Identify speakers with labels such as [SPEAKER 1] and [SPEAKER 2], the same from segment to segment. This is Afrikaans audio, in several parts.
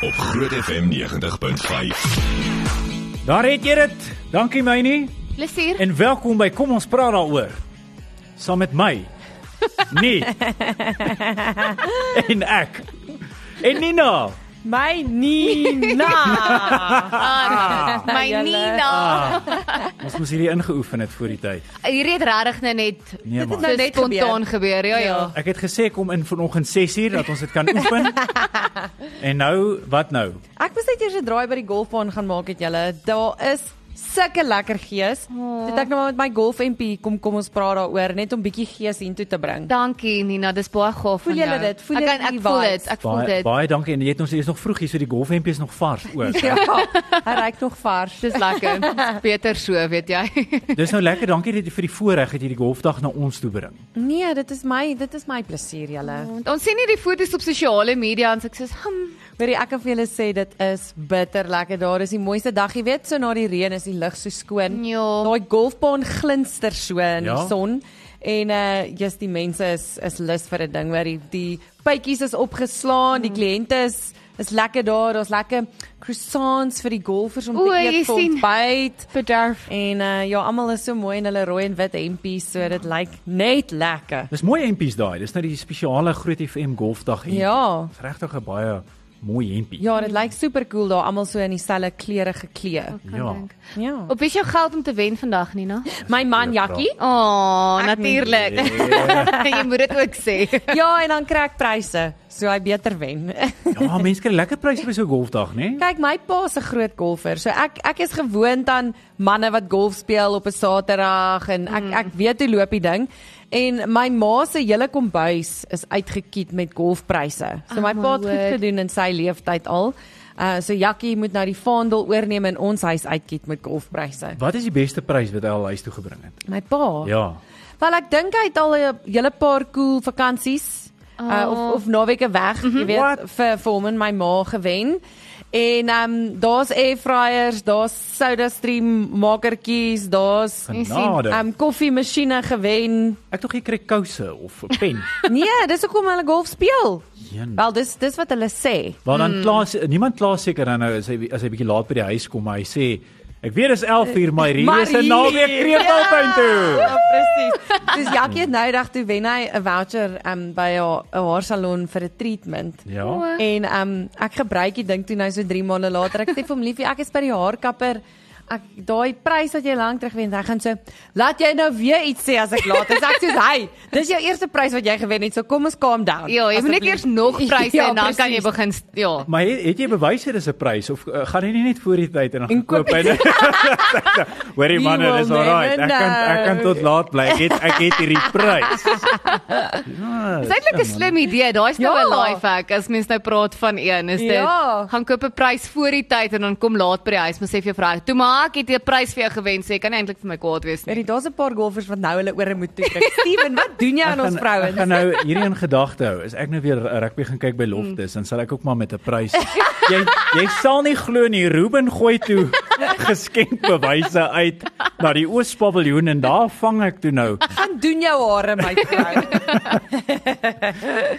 [SPEAKER 1] op Groot FM 90.5.
[SPEAKER 2] Daar het jy dit. Dankie my nie.
[SPEAKER 3] Plesier.
[SPEAKER 2] En welkom by Kom ons praat daaroor. Saam met my. Nee. en ek. En Nina.
[SPEAKER 4] My Nina.
[SPEAKER 3] Ah, my
[SPEAKER 4] Ja, Julle.
[SPEAKER 3] Nina.
[SPEAKER 2] Ons moes hierdie ingeoefen het voor die tyd.
[SPEAKER 3] Hierdie het regtig nou net
[SPEAKER 2] Nee
[SPEAKER 4] Dit is
[SPEAKER 2] man.
[SPEAKER 3] so
[SPEAKER 4] nou- Ah. net
[SPEAKER 3] spontaan gebeur. Ja ja.
[SPEAKER 4] Ja.
[SPEAKER 2] Ek het gesê kom in vanoggend 6uur dat ons dit kan oefen. en nou, wat nou?
[SPEAKER 4] Ek was net eers 'n draai by die golfbaan gaan maak het julle. Daar is sulke lekker gees. Dit ek nou maar met my golf MP kom kom ons praat daaroor net om bietjie gees hiertoe te bring.
[SPEAKER 3] Dankie Nina, dis baie gaaf van
[SPEAKER 4] Voel
[SPEAKER 3] jou.
[SPEAKER 4] julle dit? Voel
[SPEAKER 3] ek
[SPEAKER 4] julle
[SPEAKER 3] kan ek
[SPEAKER 4] die
[SPEAKER 3] voel
[SPEAKER 4] vibes?
[SPEAKER 3] dit. Ek voel
[SPEAKER 2] Baie
[SPEAKER 3] dit.
[SPEAKER 2] baie dankie en jy het ons is nog vroeg hier so die golfhempie is nog vars ook.
[SPEAKER 4] Ja, hy reik nog vars.
[SPEAKER 3] Dis lekker. Dis Beter so, weet jy.
[SPEAKER 2] Dis nou lekker. Dankie dat jy vir die voorreg het hierdie golfdag na ons toe bring.
[SPEAKER 4] Nee, dit is my dit is my plesier julle.
[SPEAKER 3] Want ons sien nie die foto's op sosiale media en so ek sê, "Hm,
[SPEAKER 4] Weet jy ek kan vir julle sê dit is bitter lekker. Daar is die mooiste dag, jy weet, so na die reën is die lug so skoon.
[SPEAKER 3] Ja.
[SPEAKER 4] Daai golfbaan glinster so in
[SPEAKER 2] Ja.
[SPEAKER 4] die son. En uh jy's die mense is is lus vir 'n ding, hoor. Die, die pypies is opgeslaan,
[SPEAKER 3] Mm.
[SPEAKER 4] die kliënte is is lekker daar. Daar's lekker croissants vir die golfers om
[SPEAKER 3] O,
[SPEAKER 4] te
[SPEAKER 3] jy
[SPEAKER 4] eet vir
[SPEAKER 3] sien.
[SPEAKER 4] ontbyt.
[SPEAKER 3] bederf."
[SPEAKER 4] En uh ja, almal is so mooi in hulle rooi en wit hempies, so dit lyk net lekker.
[SPEAKER 2] Dis mooi hempies daai. Dis nou die spesiale Groot FM Golfdag hempie.
[SPEAKER 4] Ja.
[SPEAKER 2] Dis regtig 'n baie mooi hempie.
[SPEAKER 4] Ja, dit lyk super cool daar, almal so in dieselfde kleure geklee.
[SPEAKER 2] Ja.
[SPEAKER 4] Ja.
[SPEAKER 3] Op wie is jou geld om te wen vandag, Nina?
[SPEAKER 4] My man
[SPEAKER 2] Goeie
[SPEAKER 4] Jakkie.
[SPEAKER 3] O, oh,
[SPEAKER 4] Ek nie.
[SPEAKER 3] natuurlik.
[SPEAKER 2] Nee.
[SPEAKER 3] jy moet dit ook sê.
[SPEAKER 4] Ja, en dan kry ek pryse, so hy beter wen.
[SPEAKER 2] Ja, mense kry lekker pryse vir so 'n golfdag, né? Nee?
[SPEAKER 4] Kyk, my pa is 'n groot golfer. So ek ek is gewoond aan manne wat golf speel op 'n Saterdag en ek ek weet hoe loop die ding. En my ma se hele kombuis is uitgekiet met golfpryse. So
[SPEAKER 3] Oh
[SPEAKER 4] my
[SPEAKER 3] my
[SPEAKER 4] pa het
[SPEAKER 3] word.
[SPEAKER 4] goed gedoen in sy lewenstyd al. Uh so Jakkie moet nou die vaandel oorneem en ons huis uitkiet met golfpryse.
[SPEAKER 2] Wat is die beste prys wat hy al huis toe gebring het?
[SPEAKER 4] My pa.
[SPEAKER 2] Ja.
[SPEAKER 4] Wel ek dink hy het al 'n hele paar cool vakansies uh,
[SPEAKER 3] Oh.
[SPEAKER 4] of of naweke weg, jy weet,
[SPEAKER 2] What?
[SPEAKER 4] vir vir hom en my ma gewen. En ehm um, daar's airfryers, daar's soda stream makertjies, daar's
[SPEAKER 2] Ja,
[SPEAKER 3] sien,
[SPEAKER 2] Genade.
[SPEAKER 4] ehm um, koffiemasjiene gewen.
[SPEAKER 2] Ek tog jy kry kouse of 'n pen.
[SPEAKER 4] Nee, dis hoekom hulle golf speel.
[SPEAKER 2] Jeen.
[SPEAKER 4] Wel, dis dis wat hulle sê.
[SPEAKER 2] Want dan klaas niemand klaas seker dan nou as hy as hy bietjie laat by die huis kom, maar hy sê ek weet is 11uur, maar hier
[SPEAKER 4] Maar
[SPEAKER 2] is 'n
[SPEAKER 4] hier-
[SPEAKER 2] naweek kreeffontein toe.
[SPEAKER 4] Ja, presies. Dis Jackie het nou dag toe wen hy 'n voucher ehm um, by haar 'n haarsalon vir 'n treatment.
[SPEAKER 2] Ja.
[SPEAKER 4] En ehm um, ek gebruik die ding toe nou so 3 maande later. Ek sê vir hom liefie, ek is by die haarkapper. Ek daai prys wat jy lank terug wen, hy gaan so, "Laat jy nou weer iets sê as ek laat." Dis ek sê, "Hey, dis jou eerste prys wat jy gewen het, so kom ons calm down."
[SPEAKER 3] Ja, jy moet net
[SPEAKER 4] asseblief."
[SPEAKER 3] eers nog pryse
[SPEAKER 4] Ja,
[SPEAKER 3] en dan kan jy
[SPEAKER 4] presies.
[SPEAKER 3] begin ja.
[SPEAKER 2] Maar het, het jy bewyse dis 'n prys of uh, gaan jy nie net voor die tyd en dan
[SPEAKER 4] En
[SPEAKER 2] gaan koop
[SPEAKER 4] koop
[SPEAKER 2] en Hoorie man,
[SPEAKER 4] You
[SPEAKER 2] dis
[SPEAKER 4] will
[SPEAKER 2] alright. Ek
[SPEAKER 4] never
[SPEAKER 2] kan ek kan tot laat bly. Ek het ek het hierdie prys. Ja,
[SPEAKER 3] Dis eintlik 'n slim idee. Daai's nou
[SPEAKER 4] Ja.
[SPEAKER 3] 'n life hack as mens nou praat van een, is dit
[SPEAKER 4] Ja.
[SPEAKER 3] gaan koop 'n prys voor die tyd en dan kom laat by die huis, maar sê vir jou vrou, "Toe maar ek het 'n prys vir jou gewen," sê jy kan nie eintlik vir my kwaad wees nie.
[SPEAKER 4] Weet jy, daar's 'n paar golfers wat nou hulle ore moet toe druk. Steven, wat doen jy aan ons
[SPEAKER 2] Ek gaan- Ek
[SPEAKER 4] vrouens?
[SPEAKER 2] gaan nou hierdie in gedagte hou. As ek nou weer rugby gaan kyk by Loftus, dan sal ek ook maar met 'n prys. jy jy sal nie glo nie, Ruben gooi toe geskenkbewyse uit na die Oospaviljoen en daar vang ek toe nou.
[SPEAKER 4] Gaan doen jou hare, my vrou.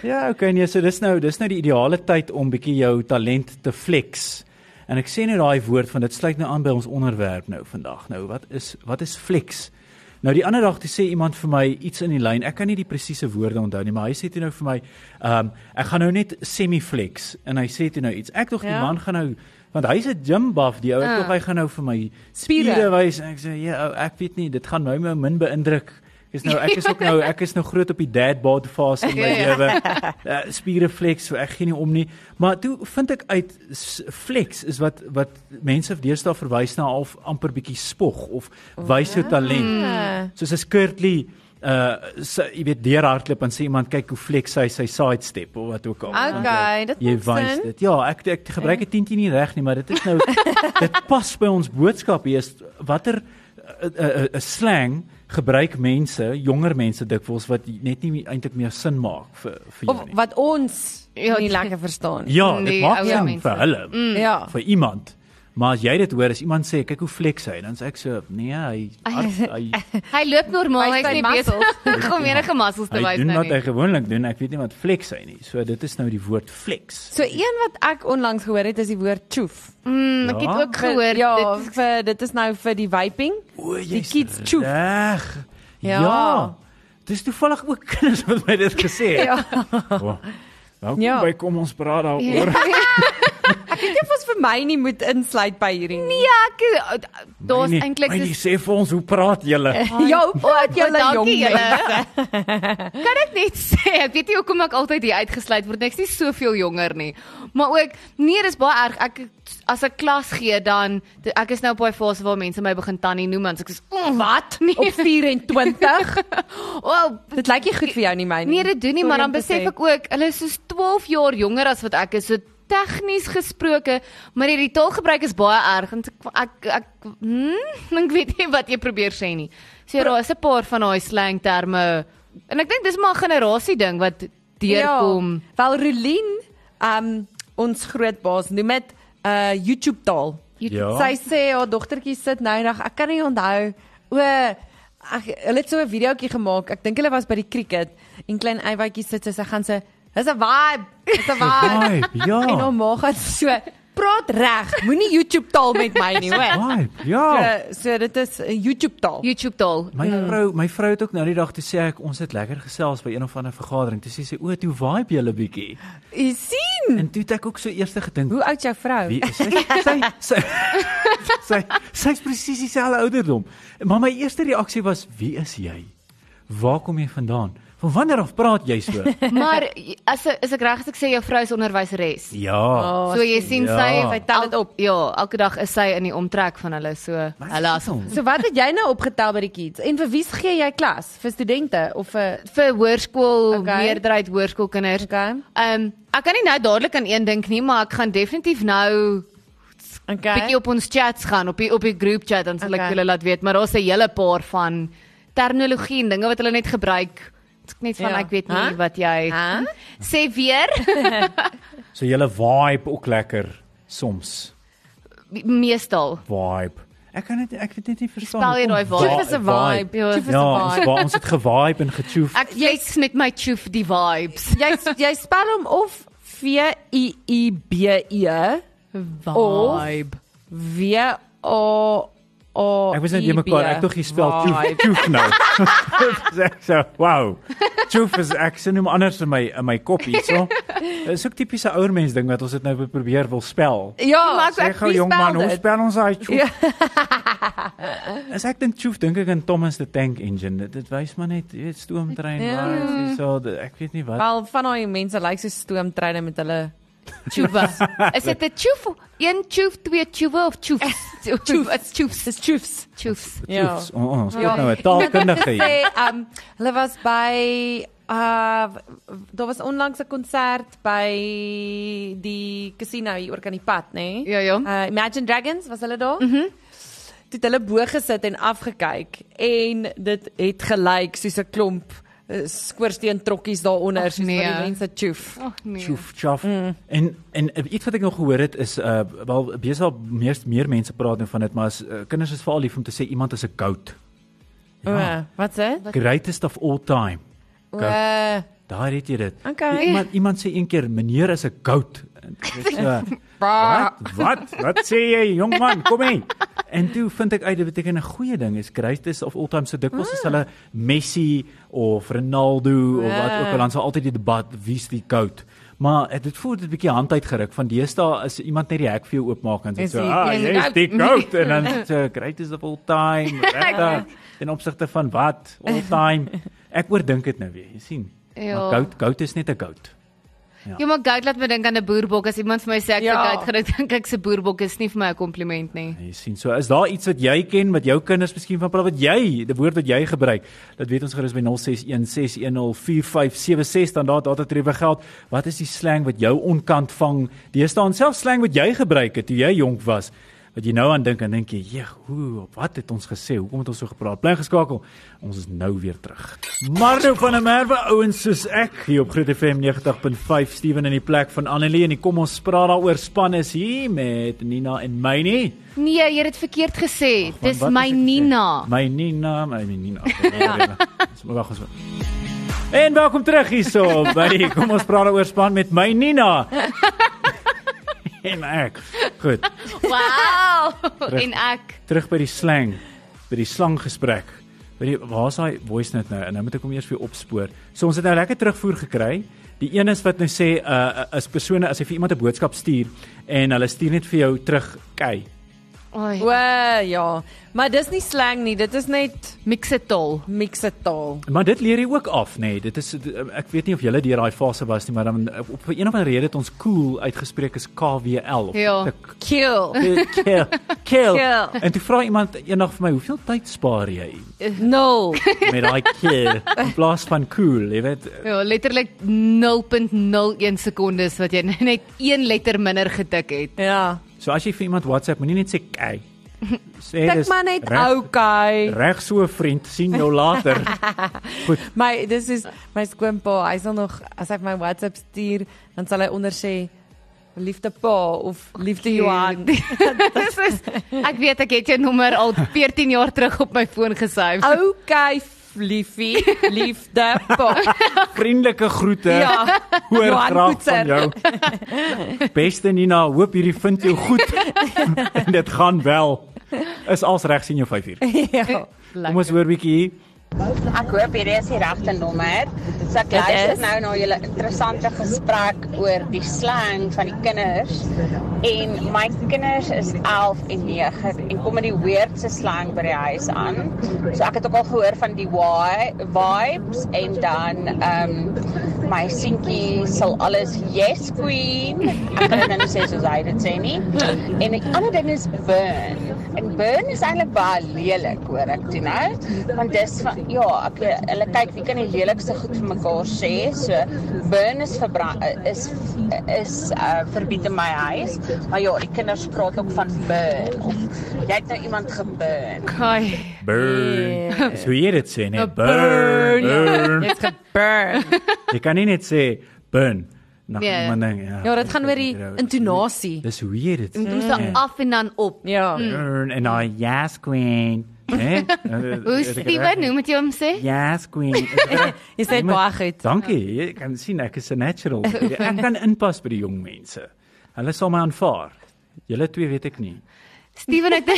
[SPEAKER 2] Ja, okay, nee, so dis nou dis nou die ideale tyd om bietjie jou talent te flex. En ek sê net daai woord van dit sluit nou aan by ons onderwerp nou vandag. Nou, wat is wat is flex? Nou die ander dag toe sê iemand vir my iets in die lyn. Ek kan nie die presiese woorde onthou nie, maar hy sê toe nou vir my, ehm um, ek gaan nou net semi-flex en hy sê toe nou iets. Ek tog die
[SPEAKER 4] Ja.
[SPEAKER 2] man gaan nou want hy's 'n gym buff, die ou. Ek
[SPEAKER 3] Ah.
[SPEAKER 2] tog hy gaan nou vir my
[SPEAKER 4] Spiere.
[SPEAKER 2] spiere wys en ek sê, "Ja, ou, ek weet nie, dit gaan my nou min beïndruk." Ek Is nou ek is ook nou ek is nou groot op die dad bod fase in my
[SPEAKER 3] Ja.
[SPEAKER 2] lewe. Uh, spierrefleks, so ek gee nie om nie. Maar toe vind ek uit s- flex is wat wat mense deesdae verwys na half amper bietjie spog of wys jou talent.
[SPEAKER 4] Mm.
[SPEAKER 2] Soos as Kurtley uh sy, jy weet deur hardloop en sê iemand kyk hoe flex hy sy side step of wat ook al. eh,
[SPEAKER 4] Okay, dit
[SPEAKER 2] Jy
[SPEAKER 4] maak
[SPEAKER 2] wys
[SPEAKER 4] sin.
[SPEAKER 2] dit. Ja, ek ek gebruik 'n tientjie nie reg nie, maar dit is nou dit pas by ons boodskap hier is watter 'n uh, uh, uh, slang gebruik mense, jonger mense dikwels wat net nie eintlik meer sin maak vir vir jou
[SPEAKER 4] Of
[SPEAKER 2] nie.
[SPEAKER 4] wat ons
[SPEAKER 3] Ja,
[SPEAKER 4] nie
[SPEAKER 3] die-
[SPEAKER 4] lekker verstaan.
[SPEAKER 2] Ja, dit
[SPEAKER 3] Nee,
[SPEAKER 2] maak
[SPEAKER 3] ouer
[SPEAKER 2] sin
[SPEAKER 3] mense.
[SPEAKER 2] vir hulle,
[SPEAKER 4] Ja.
[SPEAKER 2] vir iemand. Maar as jy dit hoor, as iemand sê kyk hoe flex hy, dan sê ek so nee, hy hard, hy
[SPEAKER 3] Hy loop normaal,
[SPEAKER 4] Wys
[SPEAKER 3] hy's
[SPEAKER 4] sy
[SPEAKER 3] nie besig om enige muscles te
[SPEAKER 2] hy
[SPEAKER 3] wys
[SPEAKER 2] doen
[SPEAKER 3] nou
[SPEAKER 2] wat hy
[SPEAKER 3] nie.
[SPEAKER 2] gewoonlik doen. Ek weet nie wat flex hy nie. So dit is nou die woord flex.
[SPEAKER 4] So een wat ek onlangs gehoor het is die woord choef.
[SPEAKER 3] Mm, ek
[SPEAKER 2] Ja.
[SPEAKER 3] het ook gehoor
[SPEAKER 4] ja,
[SPEAKER 3] dit
[SPEAKER 4] dit vir dit is nou vir die vaping.
[SPEAKER 2] O,
[SPEAKER 4] Die
[SPEAKER 2] jy's
[SPEAKER 4] kids tjoef.
[SPEAKER 2] Reg. Ja.
[SPEAKER 4] Ja.
[SPEAKER 2] ja. Dis toevallig ook kinders wat my dit gesê het. ja. Oh, welkom ja.
[SPEAKER 4] Ja.
[SPEAKER 2] by kom ons praat daaroor.
[SPEAKER 4] Dit was vir my nie moet insluit by hierdie nie.
[SPEAKER 3] Ja, ek daar's
[SPEAKER 2] Mynie,
[SPEAKER 3] eintlik
[SPEAKER 2] Mynie,
[SPEAKER 3] dis
[SPEAKER 2] sê vir ons hoe praat julle?
[SPEAKER 4] Ja, hoe praat
[SPEAKER 3] O,
[SPEAKER 4] julle jong
[SPEAKER 3] oh, dankie
[SPEAKER 4] mense?
[SPEAKER 3] julle. Kan ek net sê, ek weet nie hoekom ek altyd hier uitgesluit word nie. Ek's nie soveel jonger nie. Maar ook nee, dis baie erg. Ek as ek klas gee dan ek is nou op daai fase waar mense my begin tannie noem en ek sê wat?
[SPEAKER 4] Op
[SPEAKER 3] Nee.
[SPEAKER 4] 24.
[SPEAKER 3] Wow,
[SPEAKER 4] dit lyk nie goed vir jou nie, my nie.
[SPEAKER 3] Nee, dit doen nie, maar dan
[SPEAKER 4] Sorry om te
[SPEAKER 3] besef
[SPEAKER 4] sê.
[SPEAKER 3] ek ook, hulle is soos 12 jaar jonger as wat ek is. So tegnies gesproke, maar hierdie taalgebruik is baie erg en ek ek ek, hmm, ek weet nie wat jy probeer sê nie. So ja, daar is 'n paar van daai slangterme en ek dink dis maar 'n generasie ding wat deurkom.
[SPEAKER 4] Ja, wel Rolien, ehm um, ons grootbaas noem dit 'n uh, YouTube taal.
[SPEAKER 2] Ja.
[SPEAKER 4] Sy sê haar dogtertjie sit nou nog, ek kan nie onthou o ek hulle het so 'n videoetjie gemaak. Ek dink hulle was by die cricket en klein Eywaatjie sit so sy gaan sê, "Dis 'n vibe, dis 'n vibe."
[SPEAKER 2] Vibe, ja.
[SPEAKER 4] En haar ma gaan so, "Praat reg, moenie YouTube taal met my nie, hoor."
[SPEAKER 2] Vibe, ja.
[SPEAKER 4] So, so dit is 'n YouTube taal.
[SPEAKER 3] YouTube taal.
[SPEAKER 2] My vrou, my vrou het ook nou die dag toe sê ek ons het lekker gesels by een of ander vergadering. Toe sê sy o, "Hoe vibe julle bietjie?"
[SPEAKER 4] Jy sien,
[SPEAKER 2] En toe het ek ook so eers gedink,
[SPEAKER 4] hoe oud jou vrou?
[SPEAKER 2] Wie is sy? Sy sy sy sy's presies dieselfde ouderdom. Maar my eerste reaksie was, "Wie is jy? Waar kom jy vandaan? Van wanneer af praat jy so?"
[SPEAKER 3] Maar as as ek reg is ek sê jou vrou is onderwyseres.
[SPEAKER 2] Ja.
[SPEAKER 3] So jy sien
[SPEAKER 2] Ja.
[SPEAKER 3] sy
[SPEAKER 2] Sy
[SPEAKER 4] tel dit op.
[SPEAKER 3] Ja, elke dag is sy in die omtrek van hulle, so hulle as
[SPEAKER 4] So wat het jy nou opgetel by die kids? En vir wie gee jy klas? Vir studente of vir
[SPEAKER 3] vir hoërskool
[SPEAKER 4] Okay.
[SPEAKER 3] meerderheid hoërskoolkinders.
[SPEAKER 4] Okay.
[SPEAKER 3] Ehm ek kan nie nou dadelik aan een dink nie, maar ek gaan definitief nou
[SPEAKER 4] okay.
[SPEAKER 3] bietjie op ons chats gaan, op die op die groep chat dan sal ek
[SPEAKER 4] Okay.
[SPEAKER 3] julle laat weet, maar daar's 'n hele paar van terminologie en dinge wat hulle net gebruik. Dit is Net van
[SPEAKER 4] Ja.
[SPEAKER 3] ek weet nie
[SPEAKER 4] Huh?
[SPEAKER 3] wat jy
[SPEAKER 4] Huh?
[SPEAKER 3] sê weer
[SPEAKER 2] So jy vibe ook lekker soms.
[SPEAKER 3] meestal.
[SPEAKER 2] Vibe. Ek kan dit ek weet net nie verstaan.
[SPEAKER 3] Spel jy daai
[SPEAKER 2] hoekom
[SPEAKER 3] vibe?
[SPEAKER 4] Tjoef is 'n vibe.
[SPEAKER 3] Ja.
[SPEAKER 4] Tjoef is 'n
[SPEAKER 2] Ja, ons
[SPEAKER 4] vibe.
[SPEAKER 2] wa- ons het gevibe en getjoef.
[SPEAKER 3] Ek flex met my choof die vibes.
[SPEAKER 4] Jy jy spel hom of V I I B E Vibe. W O O
[SPEAKER 2] Ek was net nie
[SPEAKER 4] E
[SPEAKER 2] mekaar, ek tog jy spel tjoef, tjoef nou. Dis ek so, wow. Tjoef is ek sien hom anders in my in my kop hierso. Dis ook tipiese ouer mens ding wat ons dit nou probeer wil spel.
[SPEAKER 4] Ja,
[SPEAKER 3] Maar ek
[SPEAKER 2] Sê gou jong man, hoe spel ons daai tjoef? As ek dink tjoef dink ek aan Thomas the Tank Engine. Dit, dit wys maar net, jy weet, stoomtrein
[SPEAKER 4] Ja.
[SPEAKER 2] waar is so, ek weet nie wat.
[SPEAKER 4] Wel van daai mense lyk so stoomtreine met hulle
[SPEAKER 3] Choofa. Is dit 'n choof? Een choof, twee choofe of choofs? Choofs, choofs,
[SPEAKER 4] dis choofs.
[SPEAKER 3] choofs.
[SPEAKER 4] Ja.
[SPEAKER 2] Tjoefs. O, o, Ons
[SPEAKER 4] Ja.
[SPEAKER 2] het nou 'n taalkundige
[SPEAKER 4] Sê,
[SPEAKER 2] hier.
[SPEAKER 4] um, hulle was by uh daar was onlangs 'n konsert by die casino hier oor kan die pad, nê?
[SPEAKER 3] Ja, ja.
[SPEAKER 4] Uh Imagine Dragons was hulle daar? Mhm. Mm Toe het hulle bo gesit en afgekyk en dit het gelyk soos 'n klomp uh, skoorsteen trokkies daaronder
[SPEAKER 3] Ag,
[SPEAKER 4] soos
[SPEAKER 3] nee.
[SPEAKER 4] wat die mense choef.
[SPEAKER 3] Ag nee.
[SPEAKER 2] Tjoef, tjaf. En en eh, iets wat ek nog gehoor het is uh wel besal meer meer mense praat nou van dit, maar as uh, kinders is veral lief om te sê iemand is 'n goat.
[SPEAKER 4] O,
[SPEAKER 2] Ja.
[SPEAKER 4] Oh. wat sê?
[SPEAKER 2] Greatest of all time.
[SPEAKER 4] O,
[SPEAKER 2] Daar het jy dit.
[SPEAKER 4] Okay.
[SPEAKER 2] Iemand iemand sê een keer meneer is 'n goat. En ek is, uh,
[SPEAKER 4] bah.
[SPEAKER 2] Wat? Wat? Wat sê jy, jong man? Kom hier. En toe vind ek uit dit beteken 'n goeie ding is greatest of all time so dikwels is hulle Messi of Ronaldo of wat ook al dan sal altyd die debat wie's die goat. Maar eh, dit voel dit 'n bietjie hand uitgeruk van deesdae as iemand net die hek vir jou oopmaak en sê
[SPEAKER 4] Is
[SPEAKER 2] so,
[SPEAKER 4] die-
[SPEAKER 2] "Ah,
[SPEAKER 4] is die
[SPEAKER 2] jy's
[SPEAKER 4] goat."
[SPEAKER 2] die goat." En dan is dit so greatest of all time. Regtig. In opsigte van wat? All time. Ek oordink dit nou weer, jy sien.
[SPEAKER 3] Ja.
[SPEAKER 2] Maar goat, goat is net 'n goat.
[SPEAKER 3] Ja, maar gout laat my dink aan 'n boerbok. As iemand vir my sê ek ja.
[SPEAKER 4] Ja.
[SPEAKER 3] gout gedink, dink ek se boerbok is nie vir my 'n kompliment nie.
[SPEAKER 2] Jy sien, so is daar iets wat jy ken wat jou kinders miskien van praat wat jy, die woord wat jy gebruik. Laat weet ons gerus by 0616104576 dan daar data trewe geld. Wat is die slang wat jou onkant vang? Daar staan self slang wat jy gebruik het toe jy jonk was. wat jy nou aan dink en dink jy, "Jeg, hoe, op wat het ons gesê? Hoekom het ons so gepraat?" Bly geskakel. Ons is nou weer terug. Marno van der Merwe ouens soos ek hier op Groot FM 90.5 Steven in die plek van Annelie en die kom ons praat daaroor span is hier met Nina en Mynie.
[SPEAKER 3] Nee, jy het dit verkeerd gesê.
[SPEAKER 2] Want
[SPEAKER 3] Dis
[SPEAKER 2] wat
[SPEAKER 3] my
[SPEAKER 2] is ek gesê?
[SPEAKER 3] Nina.
[SPEAKER 2] My Nina, my Nina. nou Dis maar wag ons. En welkom terug hierso by die- kom ons praat daaroor span met my Nina. en ek. Goed,
[SPEAKER 3] Wow. en ek
[SPEAKER 2] terug by die slang, by die slanggesprek. By die waar's daai voice note nou? En nou moet ek hom eers weer opspoor. So ons het nou lekker terugvoer gekry. Die een is wat nou sê uh as persone as jy vir iemand 'n boodskap stuur en hulle stuur net vir jou terug kei.
[SPEAKER 3] Oei,
[SPEAKER 4] O ja, maar dis nie slang nie, dit is net
[SPEAKER 3] mix it all.
[SPEAKER 4] mikse taal.
[SPEAKER 2] Maar dit leer jy ook af, nê. Nee. Dit is ek weet nie of julle deur daai fase was nie, maar dan uh, op, op een of ander rede het ons cool uitgespreek as KWL of
[SPEAKER 3] Ja.
[SPEAKER 2] tik,
[SPEAKER 4] Kill.
[SPEAKER 2] eh, kill, kill.
[SPEAKER 4] Kill.
[SPEAKER 2] En toe vra iemand eendag vir my, "Hoeveel tyd spaar jy
[SPEAKER 4] No.
[SPEAKER 2] met daai kill?" In plaas van cool, jy weet.
[SPEAKER 3] Ja, letterlik 0.01 sekondes wat jy net een letter minder getik het.
[SPEAKER 4] Ja.
[SPEAKER 2] So as jy vir iemand WhatsApp, moenie net sê "kei." Sê
[SPEAKER 4] Tik maar net
[SPEAKER 2] reg-
[SPEAKER 4] okay.
[SPEAKER 2] Reg so vriend, sien jou later.
[SPEAKER 4] My dis is my skoonpa, hy sal nog as hy vir my WhatsApp stuur, dan sal hy onder sê liefde pa of liefde Johan.
[SPEAKER 3] Dis is ek weet ek het jou nommer al 14 jaar terug op my foon gesaai.
[SPEAKER 4] Okay, f- liefie, liefde pa.
[SPEAKER 2] Vriendelike groete.
[SPEAKER 4] Ja.
[SPEAKER 2] Hoor
[SPEAKER 4] Johan
[SPEAKER 2] graag van jou. Beste Nina, hoop hierdie vind jou goed. en dit gaan wel. Is als reg sien jou 5uur.
[SPEAKER 4] ja.
[SPEAKER 2] Kom ons hoor bietjie hier.
[SPEAKER 5] Ek hoop hierdie is die regte nommer. So ek luister
[SPEAKER 4] is.
[SPEAKER 5] nou na julle interessante gesprek oor die slang van die kinders. En my kinders is 11 en 9 en kom met die weirdste slang by die huis aan. So ek het ook al gehoor van die why vibes en dan ehm um, my seentjie sal alles yes queen. Ek kan dit nou nie sê soos hy dit sê nie. En 'n ander ding is burn. En burn is eintlik baie lelik hoor ek toe nou, want dis van ja, ek weet hulle kyk wie kan die lelikste goed vir mekaar sê. So burn is verbrand is is uh, verbied in my huis, maar ja, die kinders praat ook van burn of jy het nou iemand geburn.
[SPEAKER 3] Kai.
[SPEAKER 2] Burn.
[SPEAKER 4] Yeah.
[SPEAKER 2] Dis hoe jy dit sê, nee.
[SPEAKER 3] A
[SPEAKER 2] Burn. burn.
[SPEAKER 4] Dit's geburn.
[SPEAKER 2] jy kan nie net sê burn. Nou,
[SPEAKER 3] Nee.
[SPEAKER 2] yeah. ding, ja.
[SPEAKER 4] Ja, dit gaan oor die
[SPEAKER 2] Ja,
[SPEAKER 4] intonasie.
[SPEAKER 2] Dis nee. hoe jy dit
[SPEAKER 3] Ons dan af en dan op.
[SPEAKER 4] Ja.
[SPEAKER 2] Burn en I yes queen. Hè?
[SPEAKER 3] Hoe Steven, hoe moet jy hom sê?
[SPEAKER 2] Yes queen. Is dit reg?
[SPEAKER 4] Jy sê
[SPEAKER 2] Iemand-
[SPEAKER 4] baie goed.
[SPEAKER 2] Dankie. Jy kan sien ek is 'n natural. Ek kan inpas by die jong mense. Hulle sal my aanvaar. Julle twee weet ek nie.
[SPEAKER 3] Steven het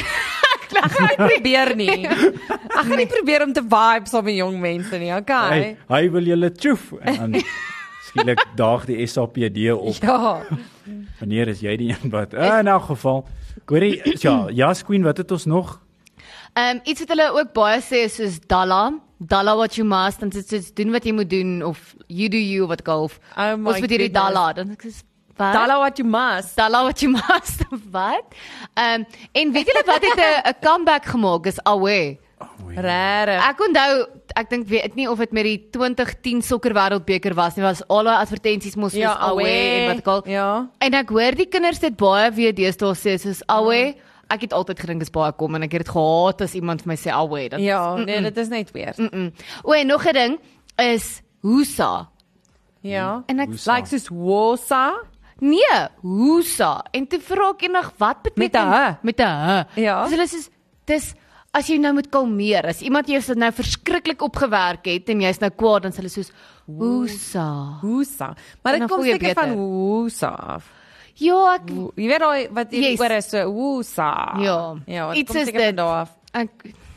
[SPEAKER 4] Ek gaan nie probeer nie. Ek gaan nie probeer om te vibe saam met jong mense nie. Okay.
[SPEAKER 2] Hy hy wil julle tjoef en dan skielik daag die SAPD op.
[SPEAKER 4] Ja.
[SPEAKER 2] Wanneer is jy die een wat? Ah, in elk geval. Hoorie, ja, Jas Queen, wat het ons nog?
[SPEAKER 3] Ehm um, iets wat hulle ook baie sê is soos Dalla, Dalla what you must, dan sê soos doen wat jy moet doen of you do you wat golf.
[SPEAKER 4] Oh my
[SPEAKER 3] Ons moet hierdie
[SPEAKER 4] goodness.
[SPEAKER 3] Dalla, dan sê ek soos, wat?
[SPEAKER 4] Tell her what you must.
[SPEAKER 3] Dalla what you must wat? Ehm um, en weet julle wat het 'n 'n comeback gemaak is Awe.
[SPEAKER 4] Regtig.
[SPEAKER 3] Ek onthou, ek dink weet nie of dit met die 2010 sokker wêreldbeker was nie, was al daai advertensies mos soos
[SPEAKER 4] Ja,
[SPEAKER 3] ja, Awe en
[SPEAKER 4] Awe.
[SPEAKER 3] wat ek al.
[SPEAKER 4] Ja.
[SPEAKER 3] En ek hoor die kinders dit baie weer deesdae sê soos
[SPEAKER 4] Ja.
[SPEAKER 3] Awe. Ek het altyd gedink dit is baie kom en ek het dit gehaat as iemand vir my sê Awe. Dan
[SPEAKER 4] Ja, nee, dit is net weer.
[SPEAKER 3] Mm. O, en nog 'n ding is Husa.
[SPEAKER 4] Ja.
[SPEAKER 3] En ek
[SPEAKER 2] Hoesa.
[SPEAKER 4] Like soos wosa.
[SPEAKER 3] nee, Husa. En toe vra ek eendag wat
[SPEAKER 4] Met 'n
[SPEAKER 3] beteken
[SPEAKER 4] H.
[SPEAKER 3] met 'n h.
[SPEAKER 4] Ja.
[SPEAKER 3] Dis hulle sê dis as jy nou moet kalmeer, as iemand jou so nou verskriklik opgewerk het en jy's nou kwaad dan sê hulle soos Husa.
[SPEAKER 4] Wosa. Maar
[SPEAKER 3] Dan
[SPEAKER 4] dit kom
[SPEAKER 3] voel jy
[SPEAKER 4] seker
[SPEAKER 3] beter.
[SPEAKER 4] van wosa af.
[SPEAKER 3] Ja, ek
[SPEAKER 4] Wo- Jy weet daai wat jy
[SPEAKER 3] Yes.
[SPEAKER 4] oor is so wosa.
[SPEAKER 3] Ja.
[SPEAKER 4] Ja, dit
[SPEAKER 3] Iets
[SPEAKER 4] kom
[SPEAKER 3] is
[SPEAKER 4] seker
[SPEAKER 3] dit.
[SPEAKER 4] van daar af.
[SPEAKER 3] ek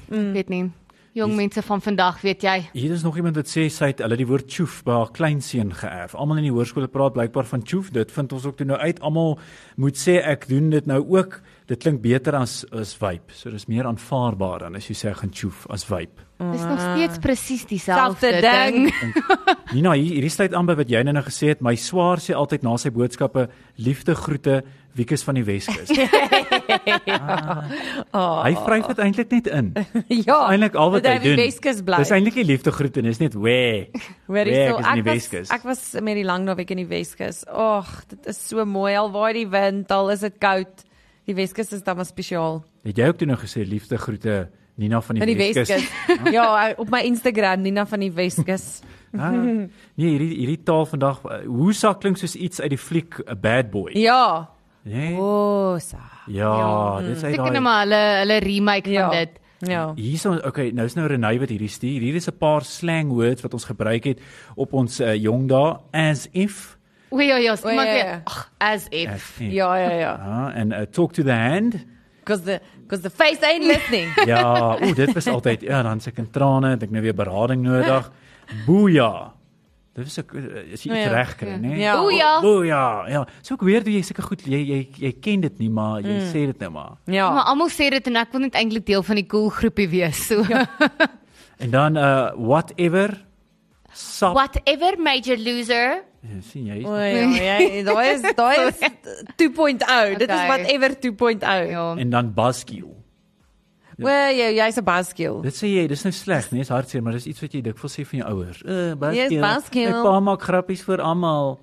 [SPEAKER 4] Mm.
[SPEAKER 3] weet nie. Jong mense van vandag, weet jy.
[SPEAKER 2] Hier is nog iemand wat sê sy het hulle die woord tjoef by haar kleinseun geërf. Almal in die hoërskole praat blykbaar van tjoef. Dit vind ons ook toe nou uit. Almal moet sê ek doen dit nou ook. Dit klink beter as as vibe. So dis meer aanvaarbaar dan as jy sê ek gaan tjoef as vibe.
[SPEAKER 3] Dis nog steeds presies
[SPEAKER 4] Ah. Selfde
[SPEAKER 3] dieselfde
[SPEAKER 4] ding.
[SPEAKER 3] ding.
[SPEAKER 2] Nina, hier hierdie sluit aan by wat jy nou nou gesê het. My swaar sê altyd na sy boodskappe liefde groete Wiekus van die Weskus. ah, hy vryf dit eintlik net in.
[SPEAKER 4] Ja.
[SPEAKER 2] Eintlik al wat hy doen.
[SPEAKER 4] Dis
[SPEAKER 2] Dis eintlik nie liefde groete nie, dis net wê.
[SPEAKER 4] Hoor
[SPEAKER 2] Wê,
[SPEAKER 4] jy so
[SPEAKER 2] ek is in
[SPEAKER 4] ek
[SPEAKER 2] die
[SPEAKER 4] was
[SPEAKER 2] Weskus.
[SPEAKER 4] ek was met die lang naweek in die Weskus. Ag, dit is so mooi al waai die wind, al is dit koud. Die Weskus is dan maar spesiaal.
[SPEAKER 2] Het jy ook toe nou gesê liefde groete Nina van
[SPEAKER 4] In die
[SPEAKER 2] die Weskus?
[SPEAKER 4] Weskus. ja, op my Instagram Nina van die Weskus.
[SPEAKER 2] Ah, nee, hierdie hierdie taal vandag, eh, Hoesa klink soos iets uit die fliek A Bad Boy.
[SPEAKER 4] Ja.
[SPEAKER 2] Nee?
[SPEAKER 4] Wosa.
[SPEAKER 2] Ja, dit is uit
[SPEAKER 3] Seker net
[SPEAKER 2] daai.
[SPEAKER 3] nou maar hulle hulle remake
[SPEAKER 4] Ja.
[SPEAKER 3] van dit.
[SPEAKER 4] Ja.
[SPEAKER 2] Hierso, okay, nou is nou Renay wat hierdie stuur. Hier is 'n paar slang words wat ons gebruik het op ons uh, jong dae as if,
[SPEAKER 3] O ja ja,
[SPEAKER 4] O, ja,
[SPEAKER 3] maar
[SPEAKER 4] ja.
[SPEAKER 3] weer ag as if.
[SPEAKER 2] as if.
[SPEAKER 4] Ja, ja, ja.
[SPEAKER 2] Ah, en uh, talk to the hand.
[SPEAKER 4] Cuz the cuz the face ain't listening.
[SPEAKER 2] Ja, o, dit was altyd ja, dan se ek in trane, het ek nou weer berading nodig. Boeja. Dit is ek as jy
[SPEAKER 4] O,
[SPEAKER 2] iets
[SPEAKER 4] Oh ja.
[SPEAKER 2] reg kry, né?
[SPEAKER 4] Ja.
[SPEAKER 3] Boeja.
[SPEAKER 2] Boeja. Ja, so ek weer jy seker goed, jy jy jy ken dit nie, maar jy
[SPEAKER 4] Hmm.
[SPEAKER 2] sê dit nou maar.
[SPEAKER 3] Maar
[SPEAKER 4] Ja.
[SPEAKER 3] almal sê dit en ek wil net eintlik deel van die cool groepie wees. So
[SPEAKER 4] Ja.
[SPEAKER 2] En dan uh whatever sap.
[SPEAKER 3] whatever major loser.
[SPEAKER 2] Ja, sien jy?
[SPEAKER 4] O ja, ja, daai is daai is 2.0. Dit is
[SPEAKER 3] Okay.
[SPEAKER 4] whatever 2.0.
[SPEAKER 3] Ja.
[SPEAKER 2] En dan baskiel.
[SPEAKER 4] Wel, oh. jy jy's 'n baskiel.
[SPEAKER 2] Dit sê jy, dis nou sleg, né? Dis hartseer, maar dis iets wat jy dikwels sê van jou ouers. Uh baskiel.
[SPEAKER 4] Yes, baskiel.
[SPEAKER 2] My pa maak grappies vir almal.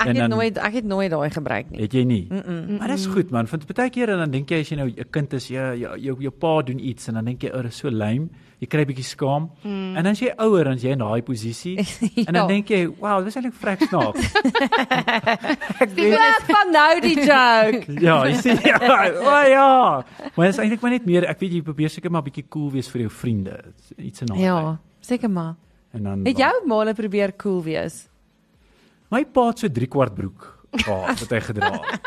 [SPEAKER 4] Ek
[SPEAKER 2] En dan-
[SPEAKER 4] het nooit ek het nooit daai gebruik nie.
[SPEAKER 2] Het jy nie? Mm -mm. Maar dis goed man, want baie kere dan dink jy as jy nou 'n kind is, ja, jou jou jou pa doen iets en dan dink jy, "O, dis so lame." Jy kry 'n bietjie skaam. Mm. En dan as jy ouer dan is jy in daai posisie en
[SPEAKER 4] Ja.
[SPEAKER 2] dan dink jy, "Wow, dis eintlik vrek snaaks."
[SPEAKER 4] Wat van nou die joke?
[SPEAKER 2] ja, jy sien, ja, o ja. Maar dit is eintlik maar net meer, ek weet jy probeer seker maar 'n bietjie cool wees vir jou vriende. Iets in daai. lyn.
[SPEAKER 4] Ja, seker maar.
[SPEAKER 2] En dan
[SPEAKER 4] Het jy ook male probeer cool wees?
[SPEAKER 2] My pa het so 3 kwart broek gehad wat hy gedra het.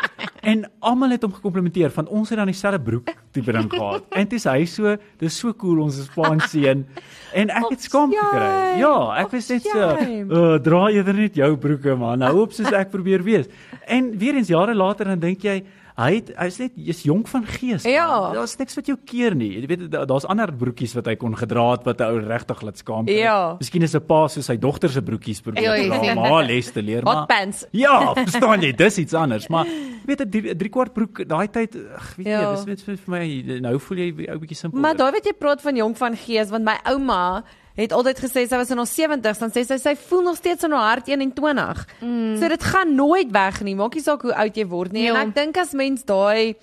[SPEAKER 2] En almal het hom gekomplimenteer van ons het dan dieselfde broek tipe ding gehad. En dis hy so, dis so cool ons is pa en seun. En ek het skaam gekry. Ja, ek was net so,
[SPEAKER 4] Opsjuim.
[SPEAKER 2] uh, dra eerder net jou broeke man. Hou op soos ek probeer wees. En weer eens jare later dan dink jy Hy het hy's net jy's jonk van gees. man.
[SPEAKER 4] Ja.
[SPEAKER 2] Daar's niks wat jou keer nie. Jy weet da- daar's ander broekies wat hy kon gedra het wat 'n ou regtig laat skaam kry.
[SPEAKER 4] Ja.
[SPEAKER 2] Miskien is 'n pa soos sy dogter se broekies probeer
[SPEAKER 3] Ja,
[SPEAKER 2] dra
[SPEAKER 3] jy
[SPEAKER 2] om
[SPEAKER 3] sien.
[SPEAKER 2] haar les te leer, maar
[SPEAKER 4] Hot pants.
[SPEAKER 2] Ja, verstaan jy, dis iets anders, maar jy weet 'n drie- 'n driekwart broek daai tyd, ag, weet
[SPEAKER 4] Ja.
[SPEAKER 2] jy, dis net vir vir my nou voel jy ou bietjie simpel.
[SPEAKER 4] Maar daai wat jy praat van jong van gees, want my ouma het altyd gesê sy was in haar 70s, dan sê sy sy voel nog steeds in haar hart 21. Mm. So dit gaan nooit weg nie, maak nie saak hoe oud jy word nie. Ja.
[SPEAKER 3] Ja.
[SPEAKER 4] En ek dink as mens daai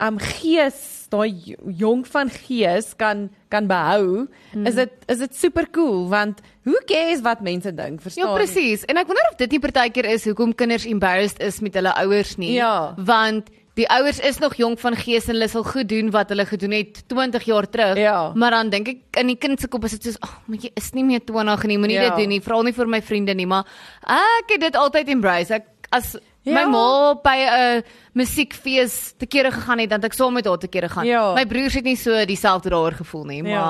[SPEAKER 4] um gees, daai j- jong van gees kan kan behou, mm. is dit is dit super cool want who cares wat mense dink, verstaan?
[SPEAKER 3] Ja, presies. En ek wonder of dit nie partykeer is hoekom kinders embarrassed is met hulle ouers nie.
[SPEAKER 4] Ja.
[SPEAKER 3] Want die ouers is nog jonk van gees en hulle sal goed doen wat hulle gedoen het 20 jaar terug.
[SPEAKER 4] Ja.
[SPEAKER 3] Maar dan dink ek in die kind se kop is dit soos, "Ag, oh, maar jy is nie meer 20 nie, moenie
[SPEAKER 4] Ja.
[SPEAKER 3] dit doen nie, vra nie vir my vriende nie, maar ek het dit altyd embrace. Ek as
[SPEAKER 4] Ja.
[SPEAKER 3] my ma by 'n musiekfees te kere gegaan het, dan het ek saam met haar te kere gaan.
[SPEAKER 4] Ja.
[SPEAKER 3] My broers het nie so dieselfde daaroor gevoel nie,
[SPEAKER 4] Ja.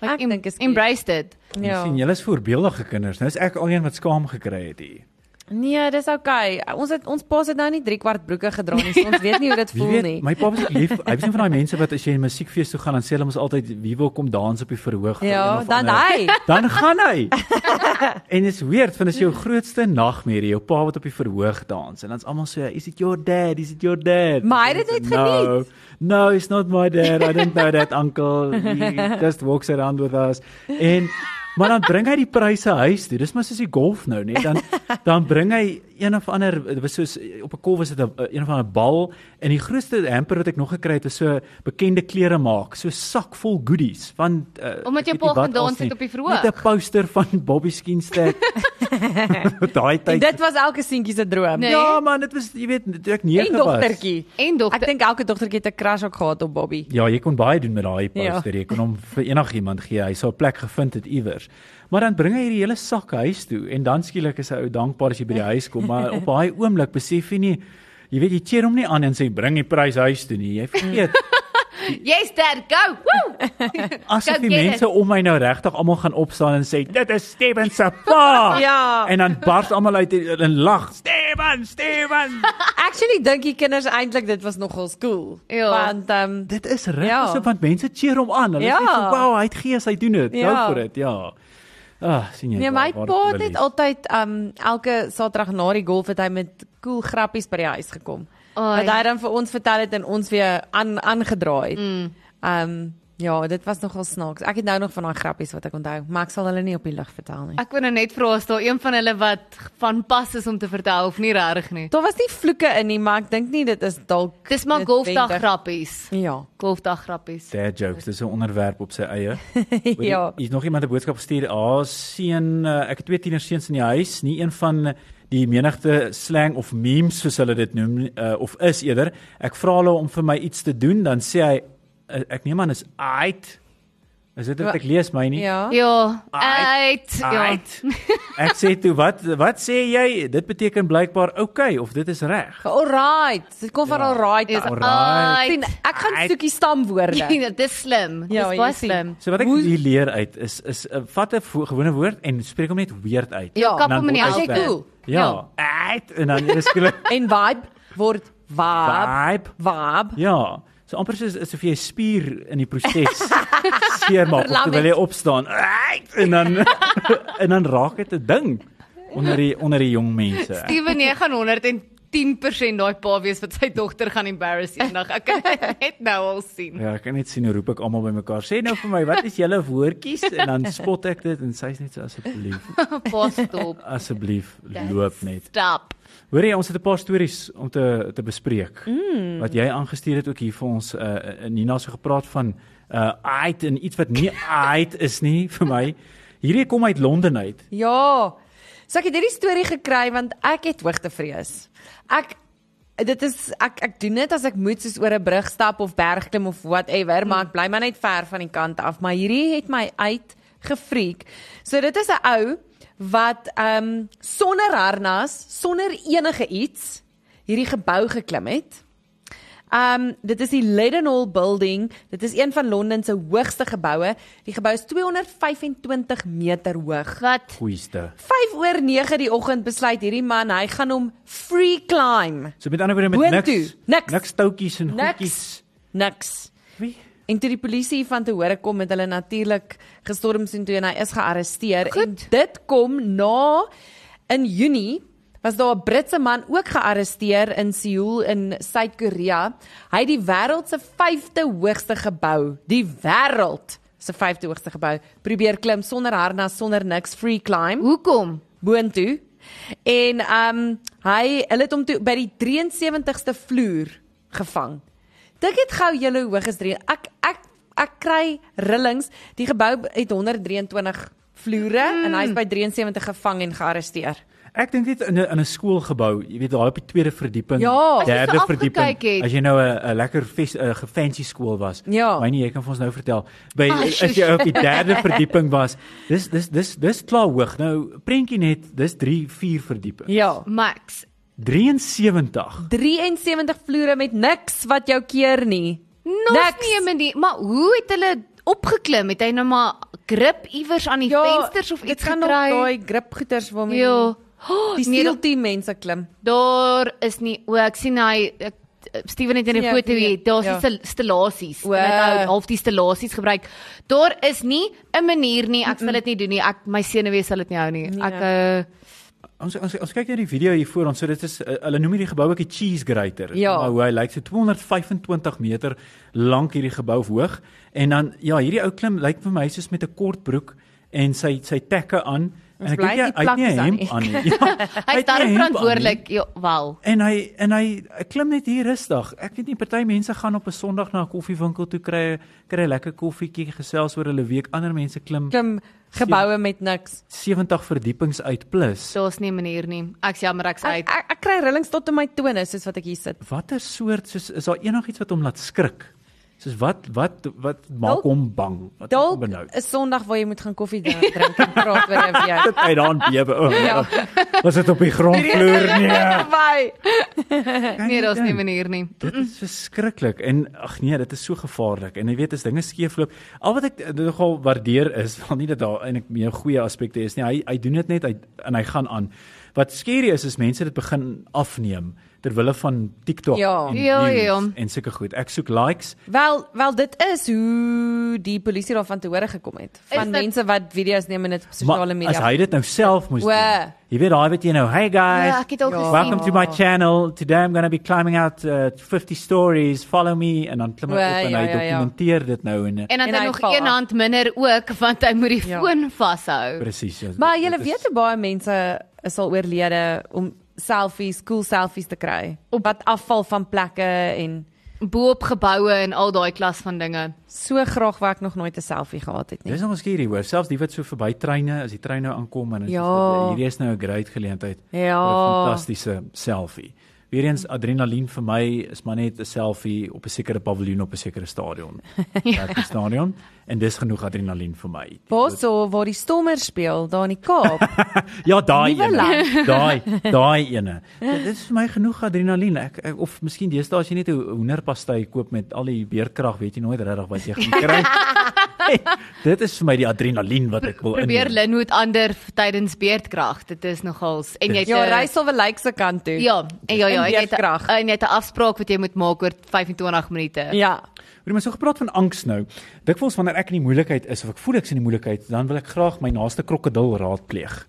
[SPEAKER 3] maar
[SPEAKER 4] Ek
[SPEAKER 3] em-
[SPEAKER 4] dink is cute.
[SPEAKER 3] embrace dit.
[SPEAKER 2] ja.
[SPEAKER 4] Ja.
[SPEAKER 2] sien julle is voorbeeldige kinders. Nou is ek al een wat skaam gekry het hier.
[SPEAKER 4] Nee, dis okay. Ons het ons pa het nou nie 3 kwart broeke gedra nie, so ons weet nie hoe dit
[SPEAKER 2] Wie
[SPEAKER 4] voel nie.
[SPEAKER 2] weet, my pa was ook lief. Hy was een van daai mense wat as jy in 'n musiekfees toe gaan, dan sê hulle mos altyd wie wil kom dans op die verhoog. vir een
[SPEAKER 4] Ja,
[SPEAKER 2] of
[SPEAKER 4] dan
[SPEAKER 2] ander-
[SPEAKER 4] hy.
[SPEAKER 2] Dan gaan hy. en dit is weird want dit is jou grootste nagmerrie, jou pa wat op die verhoog dans en dan's almal so, "Ja, is it your dad? Is it your dad?
[SPEAKER 4] Maar hy het dit net
[SPEAKER 2] No, no, it's not my dad. I don't know that uncle. He just walks around with us. En maar dan bring hy die pryse huis toe. Dis maar soos die golf nou, net dan dan bring hy een of ander dit was soos op 'n kol was dit 'n een of ander bal en die grootste hamper wat ek nog gekry het was so bekende klere maak, so sak vol goodies van uh, ek
[SPEAKER 3] Omdat jou
[SPEAKER 2] weet nie
[SPEAKER 3] pa
[SPEAKER 2] wat
[SPEAKER 3] gedans
[SPEAKER 2] als
[SPEAKER 3] het
[SPEAKER 2] nie.
[SPEAKER 3] op die verhoog.
[SPEAKER 2] Net 'n poster van Bobby Skeenstack. Daai
[SPEAKER 4] En
[SPEAKER 2] tyd.
[SPEAKER 4] dit was elke seentjie se droom.
[SPEAKER 3] Nee.
[SPEAKER 2] Ja man, dit was jy weet toe ek
[SPEAKER 4] En
[SPEAKER 2] 9 was.
[SPEAKER 4] dogtertjie.
[SPEAKER 3] En dogter.
[SPEAKER 4] Ek dink elke dogtertjie het 'n crush ook gehad op Bobby.
[SPEAKER 2] Ja, jy kon baie doen met daai poster.
[SPEAKER 4] Ja.
[SPEAKER 2] Jy kon hom vir enigiemand gee. Hy sou 'n plek gevind het iewers. Maar dan bring hy hierdie hele sak huis toe en dan skielik is hy ou dankbaar as jy by die huis kom, maar op daai oomblik besef jy nie jy weet jy cheer hom nie aan en sê bring die prys huis toe nie. Jy vergeet
[SPEAKER 3] Yes, dad, go. Woo!
[SPEAKER 2] asof
[SPEAKER 3] Go
[SPEAKER 2] die
[SPEAKER 3] get it.
[SPEAKER 2] mense om my nou regtig almal gaan opstaan en sê dit is Steven se pa.
[SPEAKER 4] Ja.
[SPEAKER 2] En dan bars almal uit en, en lag. Steven, Steven.
[SPEAKER 4] Actually dink die kinders eintlik dit was nogal cool.
[SPEAKER 3] Ja.
[SPEAKER 4] Want ehm um,
[SPEAKER 2] Dit is reg
[SPEAKER 4] Ja.
[SPEAKER 2] ja. so want mense cheer hom aan. Hulle
[SPEAKER 4] Ja.
[SPEAKER 2] ja. sê so, wow, hy het gees, hy doen dit. Ja.
[SPEAKER 4] Ja.
[SPEAKER 2] Go vir dit, ja. Ah, sien jy.
[SPEAKER 4] nee,
[SPEAKER 2] waar-
[SPEAKER 4] my
[SPEAKER 2] waar
[SPEAKER 4] pa het
[SPEAKER 2] wil
[SPEAKER 4] net
[SPEAKER 2] lees.
[SPEAKER 4] altyd ehm um, elke Saterdag na die golf het hy met cool grappies by die huis gekom.
[SPEAKER 3] Ai.
[SPEAKER 4] Wat hy dan vir ons vertel het en ons weer aan aangedraai het. Ehm mm. um, Ja, dit was nogal snaaks. Ek het nou nog van daai grappies wat ek onthou, maar ek sal hulle nie op die lug vertel nie.
[SPEAKER 3] Ek wou nou net vra as daar een van hulle wat van pas is om te vertel of nie regtig nie.
[SPEAKER 4] Daar was nie vloeke in nie, maar ek dink nie dit is dalk
[SPEAKER 3] Dis maar golfdag
[SPEAKER 4] noodwendig-
[SPEAKER 3] grappies.
[SPEAKER 4] Ja.
[SPEAKER 3] Golfdag grappies.
[SPEAKER 2] Dad jokes, dis 'n onderwerp op sy eie.
[SPEAKER 4] ja.
[SPEAKER 2] Hier's nog iemand 'n boodskap gestuur. Ah, seun, eh, ek het twee tieners seuns in die huis, nie een van die menigte slang of memes soos hulle dit noem uh, of is eerder. Ek vra hulle om vir my iets te doen, dan sê hy eh, ek neem aan is aight. Is dit wat ek lees my nie?
[SPEAKER 4] Ja.
[SPEAKER 3] Ja,
[SPEAKER 2] Ai-
[SPEAKER 3] uit. Ja.
[SPEAKER 2] Aight. Ek sê toe wat wat sê jy? Dit beteken blykbaar okay of dit is reg.
[SPEAKER 4] Alright. Dit kom van
[SPEAKER 2] Ja.
[SPEAKER 4] alright.
[SPEAKER 3] Dis
[SPEAKER 4] af.
[SPEAKER 2] Alright.
[SPEAKER 4] Sien, ek gaan
[SPEAKER 2] Alright.
[SPEAKER 4] soekie stamwoorde.
[SPEAKER 3] Ja, dis slim.
[SPEAKER 4] Ja,
[SPEAKER 3] dis
[SPEAKER 4] jy
[SPEAKER 3] baie
[SPEAKER 4] sien.
[SPEAKER 3] slim.
[SPEAKER 2] So wat ek
[SPEAKER 4] Hoe-
[SPEAKER 2] hier leer uit is is uh, vat 'n vo- gewone woord en spreek hom net weird uit.
[SPEAKER 4] Ja,
[SPEAKER 3] kap
[SPEAKER 2] Dan
[SPEAKER 3] hom in die
[SPEAKER 2] word
[SPEAKER 4] as
[SPEAKER 2] nou dit
[SPEAKER 4] jy
[SPEAKER 2] weg.
[SPEAKER 4] cool.
[SPEAKER 2] Ja, aight en dan is skielik
[SPEAKER 4] En vibe word vibe.
[SPEAKER 2] vibe.
[SPEAKER 4] Vibe.
[SPEAKER 2] Ja, so amper soos asof jy 'n spier in die proses seermaak of
[SPEAKER 4] Verlam
[SPEAKER 2] terwyl
[SPEAKER 4] het.
[SPEAKER 2] jy opstaan. Aight, En dan en dan raak dit 'n ding onder die onder die jong mense.
[SPEAKER 3] Steven, jy nee, gaan 110% daai pa wees wat sy dogter gaan embarrass eendag. Ek kan dit net nou al sien.
[SPEAKER 2] Ja, ek kan net sien hoe roep ek almal bymekaar. Sê nou vir my, wat is julle woordjies? En dan spot ek dit en sy's net so asseblief,
[SPEAKER 3] Pa stop.
[SPEAKER 2] asseblief loop net.
[SPEAKER 3] Stop.
[SPEAKER 2] Hoor jy, ons het 'n paar stories om te te bespreek. Mm. Wat jy aangestuur het ook hier vir ons uh Nina so gepraat van uh aight en iets wat nie aight is nie vir my. Hierdie kom uit Londen uit.
[SPEAKER 4] Ja. So ek het hierdie storie gekry want ek het hoogtevrees. Ek dit is ek ek doen dit as ek moet soos oor 'n brug stap of berg klim of whatever, maar ek bly maar net ver van die kant af, maar hierdie het my uit gefreek. So dit is 'n ou wat ehm um, sonder harnas, sonder enige iets hierdie gebou geklim het. Um dit is die Leadenhall Building. Dit is een van Londen se hoogste geboue. Die gebou is 225 meter hoog.
[SPEAKER 3] Wat?
[SPEAKER 2] Goeieste.
[SPEAKER 4] 5 oor 9 die oggend besluit hierdie man, hy gaan hom free climb.
[SPEAKER 2] So met ander woorde met
[SPEAKER 4] Boontoe,
[SPEAKER 2] niks,
[SPEAKER 4] niks.
[SPEAKER 2] niks toutjies en
[SPEAKER 4] Niks.
[SPEAKER 2] goedjies.
[SPEAKER 4] Niks.
[SPEAKER 2] Wie?
[SPEAKER 4] En toe die polisie hiervan te hore kom, het hulle natuurlik gestorm sien toe en hy is gearresteer. En
[SPEAKER 3] Goed.
[SPEAKER 4] dit kom na in Junie was daar 'n Britse man ook gearresteer in Seoul in Suid-Korea. Hy het die wêreld se vyfde hoogste gebou, die wêreld se vyfde hoogste gebou, probeer klim sonder harnas, sonder niks, free climb
[SPEAKER 3] Hoekom?
[SPEAKER 4] boontoe. En ehm um, hy hulle het hom toe by die 73ste vloer gevang. Dink dit gou julle hoe hoog is drie. Ek ek ek kry rillings. Die gebou het 123 vloere mm.
[SPEAKER 3] Hmm.
[SPEAKER 4] en hy's by 73 gevang en gearresteer.
[SPEAKER 2] Ek dink dit in 'n in 'n skoolgebou, jy weet daai op die tweede verdieping,
[SPEAKER 4] Ja. As
[SPEAKER 3] jy so
[SPEAKER 2] derde
[SPEAKER 3] afgekyk
[SPEAKER 2] verdieping.
[SPEAKER 3] het.
[SPEAKER 2] As jy nou 'n 'n lekker ves- 'n ge- fancy skool was.
[SPEAKER 4] Ja.
[SPEAKER 2] Maar nee, jy kan vir ons nou vertel. By
[SPEAKER 3] Ah,
[SPEAKER 2] as jy
[SPEAKER 3] sjoe.
[SPEAKER 2] op die derde verdieping was, dis dis dis dis klaar hoog. Nou prentjie net, dis 3, 4 verdieping.
[SPEAKER 4] Ja.
[SPEAKER 3] Max.
[SPEAKER 2] 73.
[SPEAKER 4] 73 vloere met niks wat jou keer nie.
[SPEAKER 3] Nog
[SPEAKER 4] Niks.
[SPEAKER 3] nie in die maar hoe het hulle opgeklim? Het hy nou maar grip iewers aan die vensters of
[SPEAKER 4] Ja, dit
[SPEAKER 3] iets
[SPEAKER 4] gaan nog daai
[SPEAKER 3] gekry?
[SPEAKER 4] gripgoeters waarmee
[SPEAKER 3] Ja. Oh,
[SPEAKER 4] die
[SPEAKER 3] nee,
[SPEAKER 4] steel team mense klim.
[SPEAKER 3] daar is nie o, ek sien hy ek, Steven het in 'n
[SPEAKER 4] Ja,
[SPEAKER 3] foto hier, daar's
[SPEAKER 4] ja.
[SPEAKER 3] ja. stellasies.
[SPEAKER 4] O.
[SPEAKER 3] Hulle het nou half die stellasies gebruik. Daar is nie 'n manier nie. Ek sal dit nie doen nie. Ek my senuwees sal dit nie hou nie.
[SPEAKER 4] Nee.
[SPEAKER 3] Ek uh,
[SPEAKER 2] Ons ons ons kyk net die video hier voor ons. So dit is uh, hulle noem hierdie gebou ook die cheese grater.
[SPEAKER 4] Ja.
[SPEAKER 2] Maar hoe hy lyk so 225 meter lank hierdie gebou hoog en dan ja, hierdie ou klim lyk vir my soos met 'n kort broek en sy sy tekke aan en
[SPEAKER 4] Ons
[SPEAKER 2] ek
[SPEAKER 4] bly
[SPEAKER 2] weet jy hy
[SPEAKER 4] die
[SPEAKER 2] het nie 'n
[SPEAKER 4] plakkies aan
[SPEAKER 2] hemp
[SPEAKER 4] nie.
[SPEAKER 2] aan nie. Ja,
[SPEAKER 3] hy
[SPEAKER 2] het nie 'n
[SPEAKER 3] is daar
[SPEAKER 2] hemp aan nie.
[SPEAKER 3] verantwoordelik. Ja, wel.
[SPEAKER 2] En hy en hy, hy klim net hier rustig. Ek weet nie party mense gaan op 'n Sondag na 'n koffiewinkel toe kry kry 'n lekker koffietjie gesels oor hulle week. Ander mense klim
[SPEAKER 4] Klim geboue met niks.
[SPEAKER 2] 70 verdiepings uit plus.
[SPEAKER 3] Daar's nie 'n manier nie. Ek is jammer ek's uit.
[SPEAKER 4] Ek, ek, ek kry rillings tot in my tone soos wat ek hier sit.
[SPEAKER 2] Watter soort soos is daar enigiets wat hom laat skrik? Soos wat wat wat maak
[SPEAKER 4] Dalk-
[SPEAKER 2] hom bang? Wat maak hom
[SPEAKER 4] Dalk
[SPEAKER 2] benou?
[SPEAKER 4] 'n Sondag waar jy moet gaan koffie drink, drink en praat oor 'n week.
[SPEAKER 2] Hy dan bewe. Oh,
[SPEAKER 4] Ja.
[SPEAKER 2] ja. Was dit op die grondvloer nee?
[SPEAKER 4] Bye.
[SPEAKER 3] Nee, daar's nie 'n manier nie.
[SPEAKER 2] Dit is verskriklik en ag nee, dit is so gevaarlik. En jy weet as dinge skeefloop, al wat ek eh, nogal waardeer is, want nie dat daar eintlik meer goeie aspekte is nie. Hy hy doen dit net hy en hy gaan aan. Wat skerry is is mense dit begin afneem. ter wille van TikTok
[SPEAKER 4] Ja.
[SPEAKER 2] en
[SPEAKER 3] Ja, ja, ja.
[SPEAKER 2] views en sulke goed. Ek soek likes.
[SPEAKER 4] Wel, wel dit is hoe die polisie daarvan te hore gekom het. Van
[SPEAKER 3] dit-
[SPEAKER 4] mense wat video's neem en dit op
[SPEAKER 2] Maar
[SPEAKER 4] sosiale
[SPEAKER 2] as
[SPEAKER 4] media.
[SPEAKER 2] hy dit nou self moes
[SPEAKER 4] Wow.
[SPEAKER 2] doen. Jy weet daai wat jy nou, hey guys,
[SPEAKER 3] Ja, ek het al
[SPEAKER 4] Ja.
[SPEAKER 3] gesien.
[SPEAKER 2] Welcome to my channel. Today I'm going to be climbing out uh, 50 stories. Follow me en dan klim hy
[SPEAKER 4] O,
[SPEAKER 2] op en
[SPEAKER 4] ja,
[SPEAKER 2] hy
[SPEAKER 4] ja, ja.
[SPEAKER 2] dokumenteer dit nou en
[SPEAKER 3] En dan
[SPEAKER 4] En
[SPEAKER 3] het hy
[SPEAKER 4] hy
[SPEAKER 3] nog
[SPEAKER 4] val
[SPEAKER 3] een
[SPEAKER 4] af.
[SPEAKER 3] hand minder ook want hy moet die
[SPEAKER 4] Ja.
[SPEAKER 3] foon vashou.
[SPEAKER 2] presies. ja,
[SPEAKER 4] Maar
[SPEAKER 2] dit
[SPEAKER 4] jy
[SPEAKER 2] is-
[SPEAKER 4] weet hoe baie mense is al oorlede om selfies, cool selfies te kry op wat afval van plekke en
[SPEAKER 3] Bo op geboue en al daai klas van dinge.
[SPEAKER 4] so graag wou ek nog nooit 'n selfie gehad het nie.
[SPEAKER 2] Dis nou miskien hier hoor, selfs die wat so verby treine as die trein nou aankom en is
[SPEAKER 4] Ja.
[SPEAKER 2] dit, hierdie is nou 'n great geleentheid vir 'n
[SPEAKER 4] Ja.
[SPEAKER 2] fantastiese selfie. Weerens adrenalien vir my is maar net 'n selfie op 'n sekere paviljoen op 'n sekere stadion. Ja, die stadion en dis genoeg adrenalien vir my.
[SPEAKER 4] Bosso waar die stommer speel daar in die Kaap.
[SPEAKER 2] Ja, daai
[SPEAKER 4] Nuwe
[SPEAKER 2] ene. Daai, daai ene. Dit dit is vir my genoeg adrenalien. Ek, ek of miskien deesdae as jy net 'n hoenderpastei koop met al die beerkrag, weet jy nooit regtig wat jy gaan kry. Dit is vir my die adrenalien wat ek wil
[SPEAKER 3] Probeer
[SPEAKER 2] inneem.
[SPEAKER 3] Linwood ander tydens beerdkrag. Dit is nogals en jy het
[SPEAKER 4] ja,
[SPEAKER 3] een-
[SPEAKER 4] ry sal wel lyk se kant toe.
[SPEAKER 3] Ja, en ja ja,
[SPEAKER 4] En
[SPEAKER 3] en jy het
[SPEAKER 4] beerdkrag.
[SPEAKER 3] en jy het 'n afspraak wat jy moet maak oor 25 minute.
[SPEAKER 4] Ja.
[SPEAKER 2] Hoor jy, maar so gepraat van angs nou. Dikwels wanneer ek in die moeilikheid is of ek voel ek's in die moeilikheid, dan wil ek graag my naaste krokodil raadpleeg.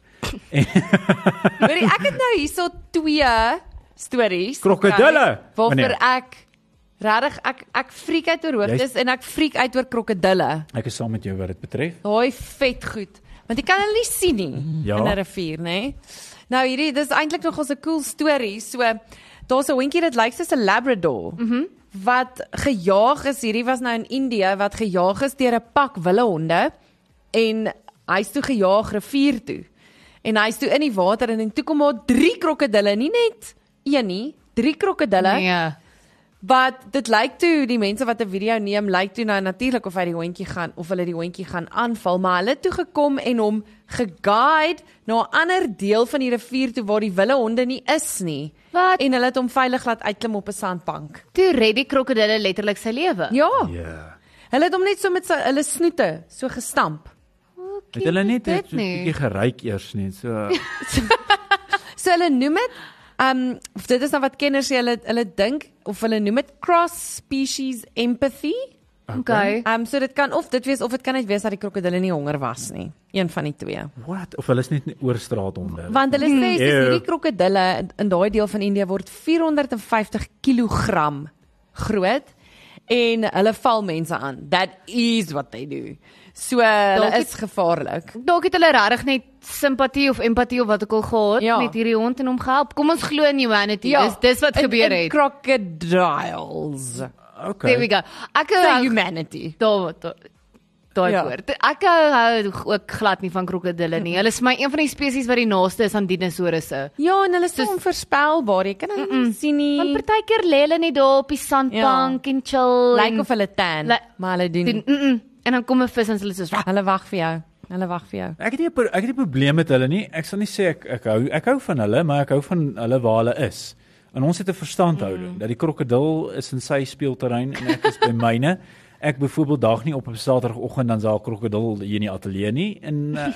[SPEAKER 4] Hoorie, ek het nou hierso twee stories.
[SPEAKER 2] Krokodille,
[SPEAKER 4] gekry, Waarvoor
[SPEAKER 2] meneer.
[SPEAKER 4] ek regtig ek ek freak uit oor hoogtes en ek freak uit oor krokodille.
[SPEAKER 2] Ek is saam met jou wat dit betref.
[SPEAKER 4] Daai vet goed. Want jy kan hulle nie sien nie
[SPEAKER 2] Ja.
[SPEAKER 4] in 'n rivier, nê? Nou hierdie dis eintlik nog ons 'n cool storie. So daar's 'n hondjie dit lyk soos 'n labrador. Mhm. wat gejaag is, hierdie was nou in Indië wat gejaag is deur 'n pak willehonde en hy's toe gejaag rivier toe. En hy's toe in die water en, en toe kom daar drie krokodille, nie net een nie, drie krokodille.
[SPEAKER 3] Nee.
[SPEAKER 4] Wat dit lyk toe die mense wat 'n video neem, lyk toe nou natuurlik of hy die hondjie gaan of hulle die hondjie gaan aanval, maar hulle het toe gekom en hom geguide na 'n ander deel van die rivier toe waar die wilde honde nie is nie.
[SPEAKER 3] Wat?
[SPEAKER 4] En hulle het hom veilig laat uitklim op 'n sandbank.
[SPEAKER 3] Toe red die krokodille letterlik sy lewe.
[SPEAKER 4] Ja,
[SPEAKER 2] Ja. Yeah.
[SPEAKER 4] hulle het hom net so met sy hulle snoete so gestamp.
[SPEAKER 2] Het hulle net
[SPEAKER 3] dit
[SPEAKER 2] so 'n
[SPEAKER 3] nie.
[SPEAKER 2] bietjie geryk eers net. So
[SPEAKER 4] So hulle noem dit Ehm um, of dit is nou wat kenners sê hulle hulle dink of hulle noem dit cross species empathy.
[SPEAKER 3] Okay.
[SPEAKER 4] Ehm um, so dit kan of dit wees of dit kan net wees dat die krokodille nie honger was nie. Een van die twee.
[SPEAKER 2] what? Of hulle is net nie oor straat onder.
[SPEAKER 4] Want hulle sê soos
[SPEAKER 2] Ew.
[SPEAKER 4] hierdie krokodille in- in daai deel van Indië word 450 kg groot en hulle val mense aan. That is what they do. So hulle
[SPEAKER 3] Dalk
[SPEAKER 4] is gevaarlik.
[SPEAKER 3] Dalk het hulle regtig net simpatie of empatie of wat ook al gehad
[SPEAKER 4] Ja.
[SPEAKER 3] met hierdie hond en hom gehelp. Kom ons glo in humanity. dis dis wat
[SPEAKER 4] in-
[SPEAKER 3] gebeur
[SPEAKER 4] in
[SPEAKER 3] het.
[SPEAKER 4] Ja. Crocodiles.
[SPEAKER 2] Okay.
[SPEAKER 3] There we go. Ek
[SPEAKER 4] The
[SPEAKER 3] hou
[SPEAKER 4] humanity.
[SPEAKER 3] daai daai- daai
[SPEAKER 4] Ja.
[SPEAKER 3] woord. Ek eh, hou ook glad nie van krokodille nie. Hulle is my een van die spesies wat die naaste is aan dinosourusse.
[SPEAKER 4] Ja, en hulle is so onvoorspelbaar. Jy kan hulle nie sien
[SPEAKER 3] Want
[SPEAKER 4] nie.
[SPEAKER 3] partykeer lê hulle net daar op die sandbank ja. en chill.
[SPEAKER 4] Lyk of hulle tan,
[SPEAKER 3] Lyk-
[SPEAKER 4] maar hulle doen.
[SPEAKER 3] doen mm -mm, en dan kom 'n vis en hulle is soos
[SPEAKER 4] Hulle wag vir jou. Hulle wag vir jou.
[SPEAKER 2] Ek het nie 'n pro- ek het nie 'n probleem met hulle nie. Ek sal nie sê ek ek hou ek hou van hulle, maar ek hou van hulle waar hulle is. En ons het 'n verstandhouding mm. dat die krokodil is in sy speelterrein en ek is by myne. Ek byvoorbeeld dag nie op op Saterdagoggend dan sal krokodil hier in die ateljee nie en uh,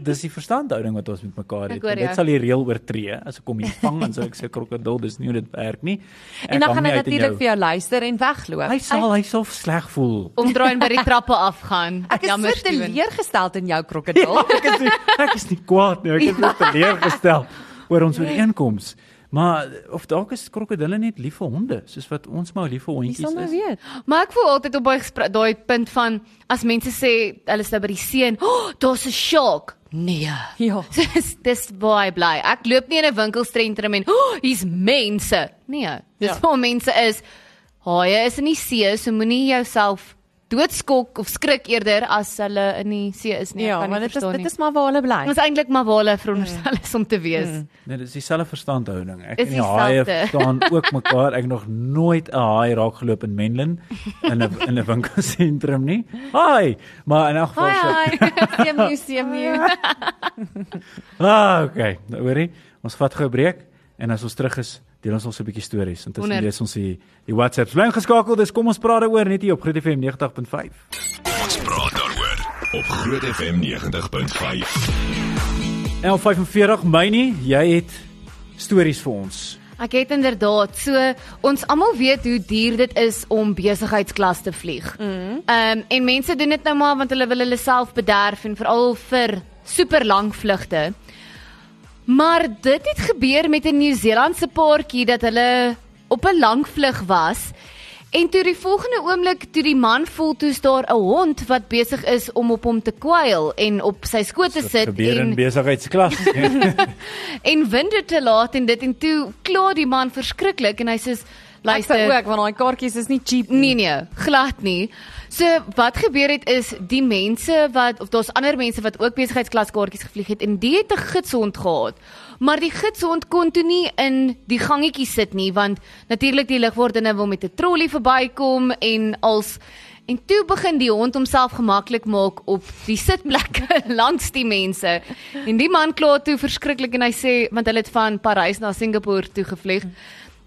[SPEAKER 2] dis die verstandhouding wat ons met mekaar
[SPEAKER 3] Ek
[SPEAKER 2] het.
[SPEAKER 3] hoor
[SPEAKER 2] En
[SPEAKER 3] jou.
[SPEAKER 2] Dit sal die reël oortree as ek hom hier vang en so ek sê krokodil dis nie hoe dit werk nie.
[SPEAKER 4] En dan gaan hy natuurlik
[SPEAKER 2] natuurlik
[SPEAKER 4] vir jou luister en wegloop.
[SPEAKER 2] Hy sal hy sal sleg voel.
[SPEAKER 3] omdraai en by die trappe afgaan.
[SPEAKER 4] Ek is
[SPEAKER 3] Jammer,
[SPEAKER 4] so
[SPEAKER 3] Steven.
[SPEAKER 4] teleurgesteld in jou krokodil.
[SPEAKER 2] ek is nie, ek is nie kwaad nie. Ek is net teleurgestel oor ons ooreenkoms. Maar of dalk is krokodille net lief vir honde, soos wat ons maar lief vir
[SPEAKER 4] Jy
[SPEAKER 2] hondjies
[SPEAKER 4] sal nou
[SPEAKER 2] is.
[SPEAKER 4] weet.
[SPEAKER 3] Maar ek voel altyd op daai gespra- daai punt van as mense sê hulle is nou by die see en oh, daar's 'n shark. Nee.
[SPEAKER 4] Ja.
[SPEAKER 3] Dis dis baie bly. Ek loop nie in 'n winkelstrentrum en oh, hier's mense. Nee. Dis
[SPEAKER 4] Ja.
[SPEAKER 3] ja. waar mense is. Haie is in die see, so moenie jouself doodskok of skrik eerder as hulle in die see is nie.
[SPEAKER 4] Ja,
[SPEAKER 3] Nee, ek kan
[SPEAKER 4] maar
[SPEAKER 3] nie
[SPEAKER 4] dit is
[SPEAKER 3] verstaan
[SPEAKER 4] dit
[SPEAKER 3] nie.
[SPEAKER 4] is Ja. maar waar hulle bly.
[SPEAKER 3] Ons eintlik maar waar hulle veronderstel is om te wees.
[SPEAKER 4] Mm.
[SPEAKER 2] Nee, dis dieselfde verstandhouding. Ek
[SPEAKER 3] Is
[SPEAKER 2] en die haie
[SPEAKER 3] dieselfde.
[SPEAKER 2] staan ook mekaar. Ek het nog nooit 'n haai raakgeloop in Menlyn in 'n in 'n winkelsentrum nie. Haai, maar in elk geval so-
[SPEAKER 4] Hi, hi. Seem nie, seem nie.
[SPEAKER 2] Ah, okay. Nou, Hoorie, ons vat gou 'n breek en as ons terug is, deel ons ons 'n bietjie stories. Intussen
[SPEAKER 3] Wonder.
[SPEAKER 2] lees ons die die WhatsApps. Bly ingeskakel, dis kom ons praat daaroor net hier op Groot FM 90.5.
[SPEAKER 1] Ons praat daaroor op Groot FM 90.5.
[SPEAKER 2] 11:45 Mynie, jy het stories vir ons.
[SPEAKER 3] Ek het inderdaad. So ons almal weet hoe duur dit is om besigheidsklas te vlieg. Ehm mm en mense doen dit nou maar want hulle wil hulle self bederf en veral vir super lang vlugte. Maar dit het gebeur met 'n Nieu-Seelandse paartjie dat hulle op 'n lang vlug was. En toe die volgende oomblik toe die man voel toe's daar 'n hond wat besig is om op hom te kwyl en op sy skoot te sit
[SPEAKER 2] Gebeur in
[SPEAKER 3] en
[SPEAKER 2] besigheidsklas.
[SPEAKER 3] en winde te laat en dit en toe kla die man verskriklik en hy sê
[SPEAKER 4] Ek sê
[SPEAKER 3] luister
[SPEAKER 4] ook want daai kaartjies is nie cheap
[SPEAKER 3] Nee
[SPEAKER 4] nie.
[SPEAKER 3] nee, glad nie. So wat gebeur het is die mense wat of daar's ander mense wat ook besigheidklaskaartjies gevlieg het en die het 'n gidshond gehad. Maar die gidshond kon toe nie in die gangetjie sit nie want natuurlik die ligwordene wil met 'n trolly verbykom en als en toe begin die hond homself gemaklik maak op die sitplekke langs die mense. En die man kla toe verskriklik en hy sê want hulle het van Parys na Singapore toe gevlieg.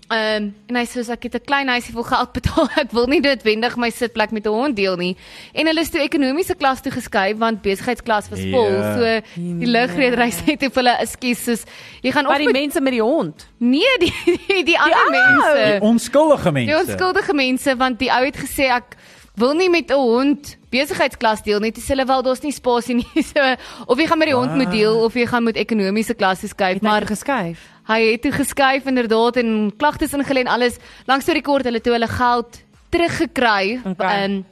[SPEAKER 3] Ehm um, en hy sê soos, ek het 'n klein huisie vol geld betaal. Ek wil nie noodwendig my sitplek met 'n hond deel nie. En hulle is toe ekonomiese klas toe geskuif want besigheidsklas was vol.
[SPEAKER 2] Ja.
[SPEAKER 3] So die lugredery sê toe vir hulle, "Ekskuus, soos jy gaan op
[SPEAKER 4] Maar die Ja! mense met die hond.
[SPEAKER 3] nee, die die, die ander
[SPEAKER 4] ou.
[SPEAKER 3] mense.
[SPEAKER 2] Die onskuldige mense.
[SPEAKER 3] Die onskuldige mense want die ou het gesê ek wil nie met 'n hond besigheidsklas deel nie. Dis hulle wel daar's nie spasie nie. So of jy gaan met die hond
[SPEAKER 2] Ah.
[SPEAKER 3] moet deel of jy gaan met ekonomiese klasse skuif, maar
[SPEAKER 4] geskuif.
[SPEAKER 3] hy het toe geskuif inderdaad en klagtes ingelê en alles. Langs toe rekord hulle toe hulle geld teruggekry.
[SPEAKER 4] Okay.
[SPEAKER 3] Ehm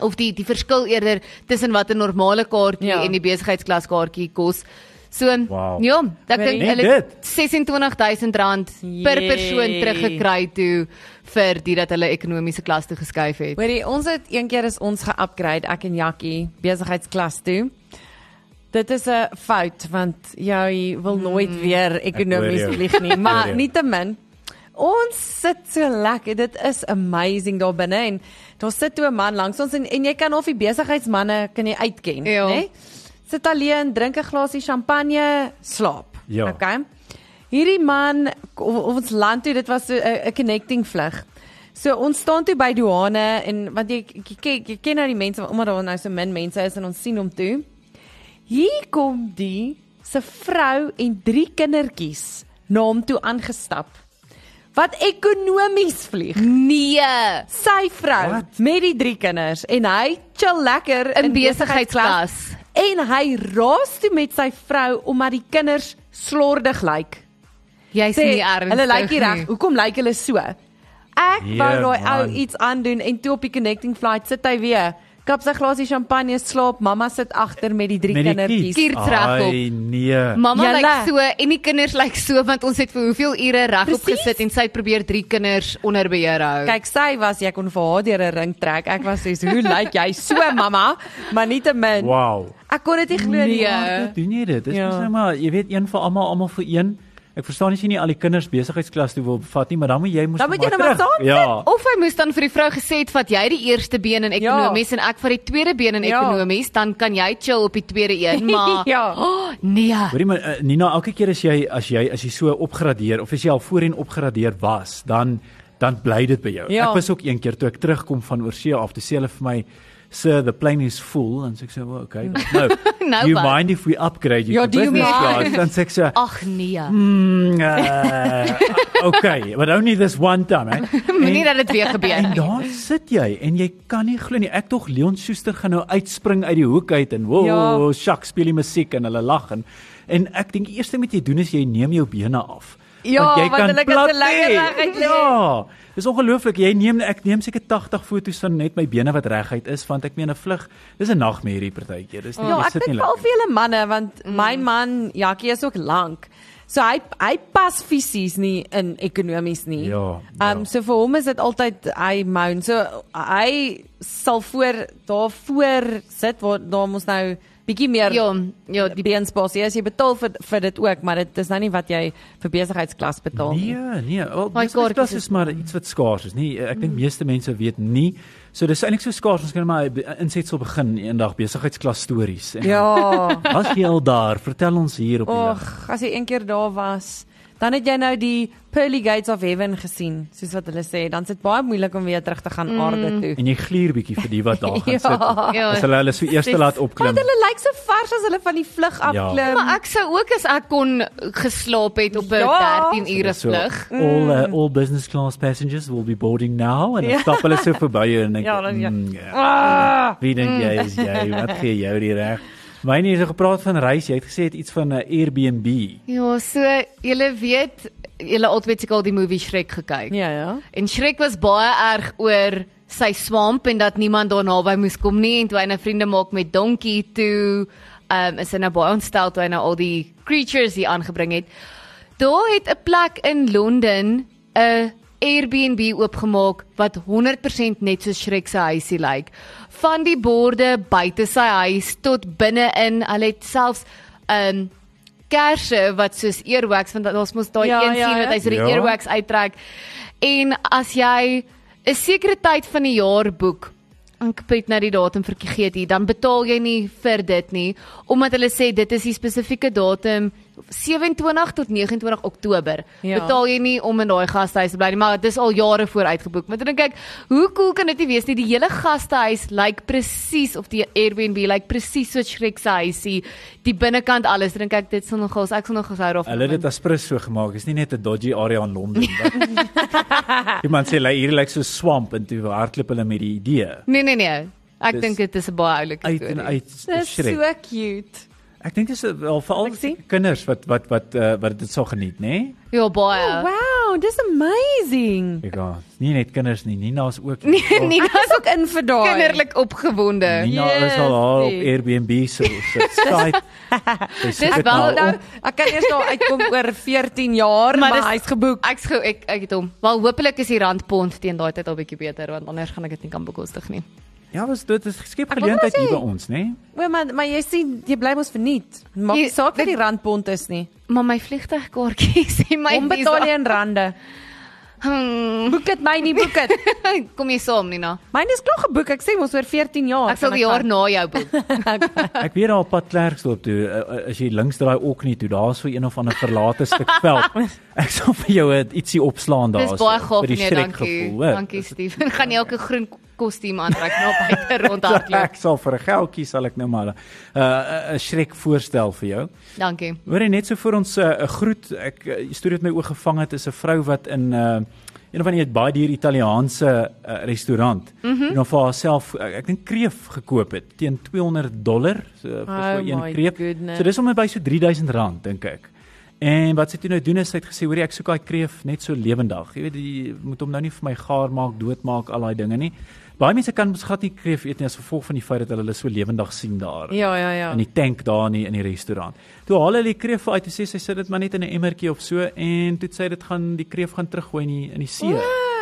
[SPEAKER 3] of die die verskil eerder tussen wat 'n normale kaartjie
[SPEAKER 4] Ja.
[SPEAKER 3] en die besigheidsklas kaartjie kos. So
[SPEAKER 2] Wow.
[SPEAKER 3] ja, ek
[SPEAKER 4] Weet
[SPEAKER 3] dink
[SPEAKER 4] jy
[SPEAKER 3] hulle
[SPEAKER 2] dit?
[SPEAKER 3] het R26000 per
[SPEAKER 4] Jee.
[SPEAKER 3] persoon teruggekry toe vir dit dat hulle ekonomiese klas toe geskuif het.
[SPEAKER 4] Hoorie, ons het een keer is ons ge-upgrade ek en Jakkie besigheidsklas toe. Dit is 'n fout want jy wil nooit
[SPEAKER 3] Hmm.
[SPEAKER 4] weer ekonomies
[SPEAKER 2] Ek hoor jou.
[SPEAKER 4] vlieg nie,
[SPEAKER 2] Ek
[SPEAKER 4] maar
[SPEAKER 2] hoor jou.
[SPEAKER 4] nietemin ons sit so lekker. Dit is amazing daar binne en daar sit toe 'n man langs ons en, en jy kan of die besigheidsmanne kan jy uitken,
[SPEAKER 3] Ja.
[SPEAKER 4] né? Sit alleen, drink 'n glasie champagne, slaap.
[SPEAKER 2] Ja.
[SPEAKER 4] Okay. Hierdie man of, of ons land toe, dit was so 'n 'n connecting vlug. So ons staan toe by douane en want jy jy, jy, jy ken nou die mense omdat daar nou so min mense is en ons sien hom toe. Hier kom die se vrou en drie kindertjies na hom toe aangestap. Wat ekonomies vlieg.
[SPEAKER 3] Nee.
[SPEAKER 4] Sy vrou
[SPEAKER 2] Wat?
[SPEAKER 4] met die drie kinders en hy chill lekker
[SPEAKER 3] In besigheidsklas.
[SPEAKER 4] en hy raas toe met sy vrou omdat die kinders slordig lyk.
[SPEAKER 3] Jy's
[SPEAKER 4] Sê,
[SPEAKER 3] nie ernstig.
[SPEAKER 4] hulle lyk nie reg.
[SPEAKER 3] nie.
[SPEAKER 4] Hoekom lyk hulle so? Ek
[SPEAKER 2] Jee,
[SPEAKER 4] wou daai ou
[SPEAKER 2] man.
[SPEAKER 4] iets aandoen en toe op die connecting flight sit hy weer. Kap sy glasie champagne, slaap, mamma sit agter met die drie
[SPEAKER 2] Met die
[SPEAKER 4] kindertjies.
[SPEAKER 3] kids. Kiert regop.
[SPEAKER 2] Ai, nee.
[SPEAKER 3] Mamma
[SPEAKER 4] Julle.
[SPEAKER 3] lyk so en die kinders lyk so want ons het vir hoeveel ure regop
[SPEAKER 4] Presies.
[SPEAKER 3] gesit en sy het probeer drie kinders onder beheer hou.
[SPEAKER 4] Kyk, sy was jy kon vir haar deur 'n ring trek. Ek was soos, "Hoe lyk jy so, mamma?" Maar nietemin.
[SPEAKER 2] Wow.
[SPEAKER 4] Ek kon dit nie glo nie.
[SPEAKER 3] Nee.
[SPEAKER 2] Doen jy dit? Dis
[SPEAKER 4] Ja.
[SPEAKER 2] mos nou maar, jy weet een vir almal, almal vir een. Ek verstaan as jy nie al die kinders besigheidsklas toe wil bevat nie, maar dan moet jy mos
[SPEAKER 4] Dan moet jy
[SPEAKER 2] maar
[SPEAKER 4] nou maar
[SPEAKER 2] terug-
[SPEAKER 4] saam sit.
[SPEAKER 2] Ja.
[SPEAKER 3] Of hy moes dan vir die vrou gesê het vat jy die eerste been in ekonomies ja. en ek vat die tweede been in
[SPEAKER 4] Ja.
[SPEAKER 3] ekonomies, dan kan jy chill op die tweede een, maar
[SPEAKER 4] Ja.
[SPEAKER 3] oh, nee.
[SPEAKER 2] Hoorie maar eh, Nina, elke keer as jy as jy as jy so opgradeer of as jy al voorheen opgradeer was, dan dan bly dit by jou.
[SPEAKER 4] Ja.
[SPEAKER 2] Ek was ook een keer toe ek terugkom van oorsee af, toe sê hulle vir my Sir, the plane is full en sê ek so, well, okay, no.
[SPEAKER 3] Nou
[SPEAKER 2] do you
[SPEAKER 3] wat?
[SPEAKER 2] mind if we upgrade you
[SPEAKER 4] Ja,
[SPEAKER 2] to
[SPEAKER 4] do you
[SPEAKER 2] business
[SPEAKER 4] mind?
[SPEAKER 2] class? Dan sê ek so,
[SPEAKER 3] Ag nee.
[SPEAKER 2] mm, uh, okay, but only this one time, eh?
[SPEAKER 3] Moenie dat dit weer gebeur
[SPEAKER 2] En
[SPEAKER 3] nie.
[SPEAKER 2] daar sit jy en jy kan nie glo nie. Ek tog Leon Schuster gaan nou uitspring uit die hoek uit en wow,
[SPEAKER 4] Ja.
[SPEAKER 2] ja. shak speel die musiek en hulle lag en en ek dink die eerste wat jy doen is jy neem jou bene af.
[SPEAKER 4] Ja, want hulle kan
[SPEAKER 2] plat
[SPEAKER 4] so lekker
[SPEAKER 2] lê.
[SPEAKER 4] reguit lê.
[SPEAKER 2] Ja, dis ongelooflik. Jy neem ek neem seker 80 foto's van net my bene wat reguit is want ek meen 'n vlug, dis 'n nagmerrie partykeer. Dis nie
[SPEAKER 4] Ja,
[SPEAKER 2] jy
[SPEAKER 4] ek
[SPEAKER 2] sit nie
[SPEAKER 4] dink veral
[SPEAKER 2] lekker.
[SPEAKER 4] vir julle manne want mm. my man Jakkie is ook lank. So hy hy pas fisies nie in ekonomies nie.
[SPEAKER 2] Ja, ja.
[SPEAKER 4] Ehm um, so vir hom is dit altyd hy moan. So hy sal voor daar voor sit waar daar mos nou bietjie meer
[SPEAKER 3] Ja, ja,
[SPEAKER 4] die
[SPEAKER 3] die
[SPEAKER 4] beenspasie is. Jy betaal vir vir dit ook, maar dit is nou nie wat jy vir besigheidsklas betaal nie.
[SPEAKER 2] Nee, nee. Wel,
[SPEAKER 3] My kaartjies
[SPEAKER 2] besigheidsklas
[SPEAKER 3] is-
[SPEAKER 2] is maar iets wat skaars is, nie. Ek
[SPEAKER 4] Mhm.
[SPEAKER 2] dink meeste mense weet nie. So dis eintlik so skaars ons kan maar 'n be- insetsel begin eendag besigheidsklas stories. En
[SPEAKER 4] Ja.
[SPEAKER 2] As jy al daar, vertel ons hier op die
[SPEAKER 4] Och,
[SPEAKER 2] lig.
[SPEAKER 4] as jy een keer daar was, Dan het jy nou die pearly gates of heaven gesien, soos wat hulle sê. Dan sit baie moeilik om weer terug te gaan aarde toe.
[SPEAKER 2] En jy gluur bietjie vir die wat daar gaan sit.
[SPEAKER 3] Ja.
[SPEAKER 2] As hulle hulle so eers
[SPEAKER 4] Dis-
[SPEAKER 2] laat opklim.
[SPEAKER 4] Want hulle lyk so vars as hulle van die vlug afklim.
[SPEAKER 3] Maar ek sou ook as ek kon geslaap het op 'n
[SPEAKER 4] Ja.
[SPEAKER 3] 13 ure
[SPEAKER 2] So,
[SPEAKER 3] vlug.
[SPEAKER 2] all uh,
[SPEAKER 4] Mm.
[SPEAKER 2] all business class passengers will be boarding now en dan stap hulle so verby jou en dink
[SPEAKER 4] Ja, dan- ja.
[SPEAKER 2] "Mm, ja. Wie dink jy is jy? Wat gee jou die reg? Myne het gepraat van reis. Jy het gesê het iets van 'n Airbnb.
[SPEAKER 3] Ja, so julle weet, julle altyd seker al die movie Shrek gekyk.
[SPEAKER 4] Ja ja.
[SPEAKER 3] Mhm. En Shrek was baie erg oor sy swamp en dat niemand daarna by moes kom nie en toe hy nou vriende maak met Donkie toe, ehm um, is hy nou baie ontstel toe hy nou al die creatures hier aangebring het. Daar het 'n plek in Londen 'n Airbnb oopgemaak wat 100% net soos Shrek se huisie lyk. Like. Van die borde buite sy huis tot binne-in, hulle het selfs ehm um, kersse wat soos earwax want daar's mos daai
[SPEAKER 4] Ja,
[SPEAKER 3] een
[SPEAKER 4] ja,
[SPEAKER 3] sien wat
[SPEAKER 4] ja.
[SPEAKER 3] hy so die
[SPEAKER 2] Ja.
[SPEAKER 3] earwax earwax uittrek. En as jy 'n sekere tyd van die jaar boek, ek het nou die datum vergeet hier, dan betaal jy nie vir dit nie, omdat hulle sê dit is die spesifieke datum 27 tot 29 Oktober.
[SPEAKER 4] Ja.
[SPEAKER 3] Betaal jy nie om in daai gastehuis te bly nie, maar dit is al jare vooruit geboek. Maar toe dink ek, hoe cool kan dit nie wees nie? Die hele gastehuis lyk presies of die Airbnb lyk presies soos Shrek se huisie. Die binnekant alles, dink ek dit sal nogals ek sal nogals hou daarvan.
[SPEAKER 2] Hulle het dit aspres so gemaak. Is nie net 'n dodgy area in Londen. wat- Iemand sê like, hier lyk so swamp en toe hardloop hulle met die idee
[SPEAKER 3] Nee nee nee. Ek
[SPEAKER 2] Dis
[SPEAKER 3] dink dit is 'n baie oulike
[SPEAKER 2] uit en
[SPEAKER 3] storie.
[SPEAKER 2] uit
[SPEAKER 4] Dis
[SPEAKER 2] skrik.
[SPEAKER 4] so cute.
[SPEAKER 2] Ek dink dis wel veral
[SPEAKER 4] Ek sien.
[SPEAKER 2] kinders wat wat wat uh, wat dit sou geniet, né? Nee?
[SPEAKER 3] Ja, baie.
[SPEAKER 4] Oh, wow, dis amazing.
[SPEAKER 2] Ek gaan nie net kinders nie, Nina's ook.
[SPEAKER 3] Nee, Nina
[SPEAKER 4] Ek is ook in vir daai.
[SPEAKER 3] kinderlik opgewonde.
[SPEAKER 2] Nina yes, is al haar op
[SPEAKER 4] Yes,
[SPEAKER 2] Airbnb se se site. Sy soek
[SPEAKER 3] Dis
[SPEAKER 2] het nou
[SPEAKER 3] wel
[SPEAKER 4] Nou,
[SPEAKER 2] op.
[SPEAKER 4] ek kan eers daar uitkom oor 14 jaar,
[SPEAKER 3] Maar
[SPEAKER 4] maar,
[SPEAKER 3] dis-
[SPEAKER 4] maar hy's geboek.
[SPEAKER 3] Ek's gou ek ek het hom. Wel hopelik is die randpond teen daai tyd al bietjie beter want anders gaan ek dit nie kan bekostig nie.
[SPEAKER 2] Ja, was dit is skep
[SPEAKER 4] Ek wil maar
[SPEAKER 2] geleentheid hier
[SPEAKER 4] sê-
[SPEAKER 2] by ons, né? Nee?
[SPEAKER 4] O, maar maar jy sien, jy bly mos verniet. Maak
[SPEAKER 3] Jy-
[SPEAKER 4] nie saak vir
[SPEAKER 3] dit-
[SPEAKER 4] die randpond is nie.
[SPEAKER 3] Maar my vliegtuigkaartjie sê my
[SPEAKER 4] Onbetaal jy in rande.
[SPEAKER 3] Hmm.
[SPEAKER 4] Boek dit my nie, boek dit.
[SPEAKER 3] Kom jy saam Nina?
[SPEAKER 4] Myne is klaar geboek. Ek sê mos oor 14 jaar.
[SPEAKER 3] Oh, Ek sal die jaar na jou boek.
[SPEAKER 2] Ek weet daar op pad Klerksdorp toe, uh, uh, as jy links draai ook nie toe, daar's so een of ander verlate stuk veld. Ek sal vir jou het ietsie opslaan daar.
[SPEAKER 3] Dis baie gaaf nee,
[SPEAKER 2] Shrek
[SPEAKER 3] dankie.
[SPEAKER 2] gevoel, hoor.
[SPEAKER 3] Dankie Steven. Gaan jy elke groen kostuum aantrek na buite rondhardloop?
[SPEAKER 2] Ek sal vir 'n geldjie sal ek nou maar 'n uh, 'n Shrek voorstel vir jou.
[SPEAKER 3] Dankie.
[SPEAKER 2] Hoor jy net so vir ons 'n uh, groet. Ek uh, storie wat my oog gevang het is 'n vrou wat in 'n uh, een van die baie duur Italiaanse uh, restaurant mm
[SPEAKER 4] Mhm.
[SPEAKER 2] -hmm. en of vir haarself ek, ek dink kreef gekoop het teen 200 dollar so eh, vir
[SPEAKER 4] Oh
[SPEAKER 2] so een
[SPEAKER 4] my
[SPEAKER 2] kreef.
[SPEAKER 4] goodness.
[SPEAKER 2] So dis om en by so 3000 rand dink ek. En wat sy toe nou doen is sy het gesê hoorie ek soek daai kreef net so lewendig. Jy weet jy moet hom nou nie vir my gaar maak, doodmaak, al daai dinge nie. Baie mense kan mos glad nie kreef eet nie as gevolg van die feit dat hulle hulle so lewendig sien daar
[SPEAKER 4] Ja, ja, ja.
[SPEAKER 2] in die tank daar in die, in die restaurant. Toe haal hulle die kreef uit en sê sy sit dit maar net in 'n emmertjie of so en toe het sy dit gaan die kreef gaan teruggooi in die in die see.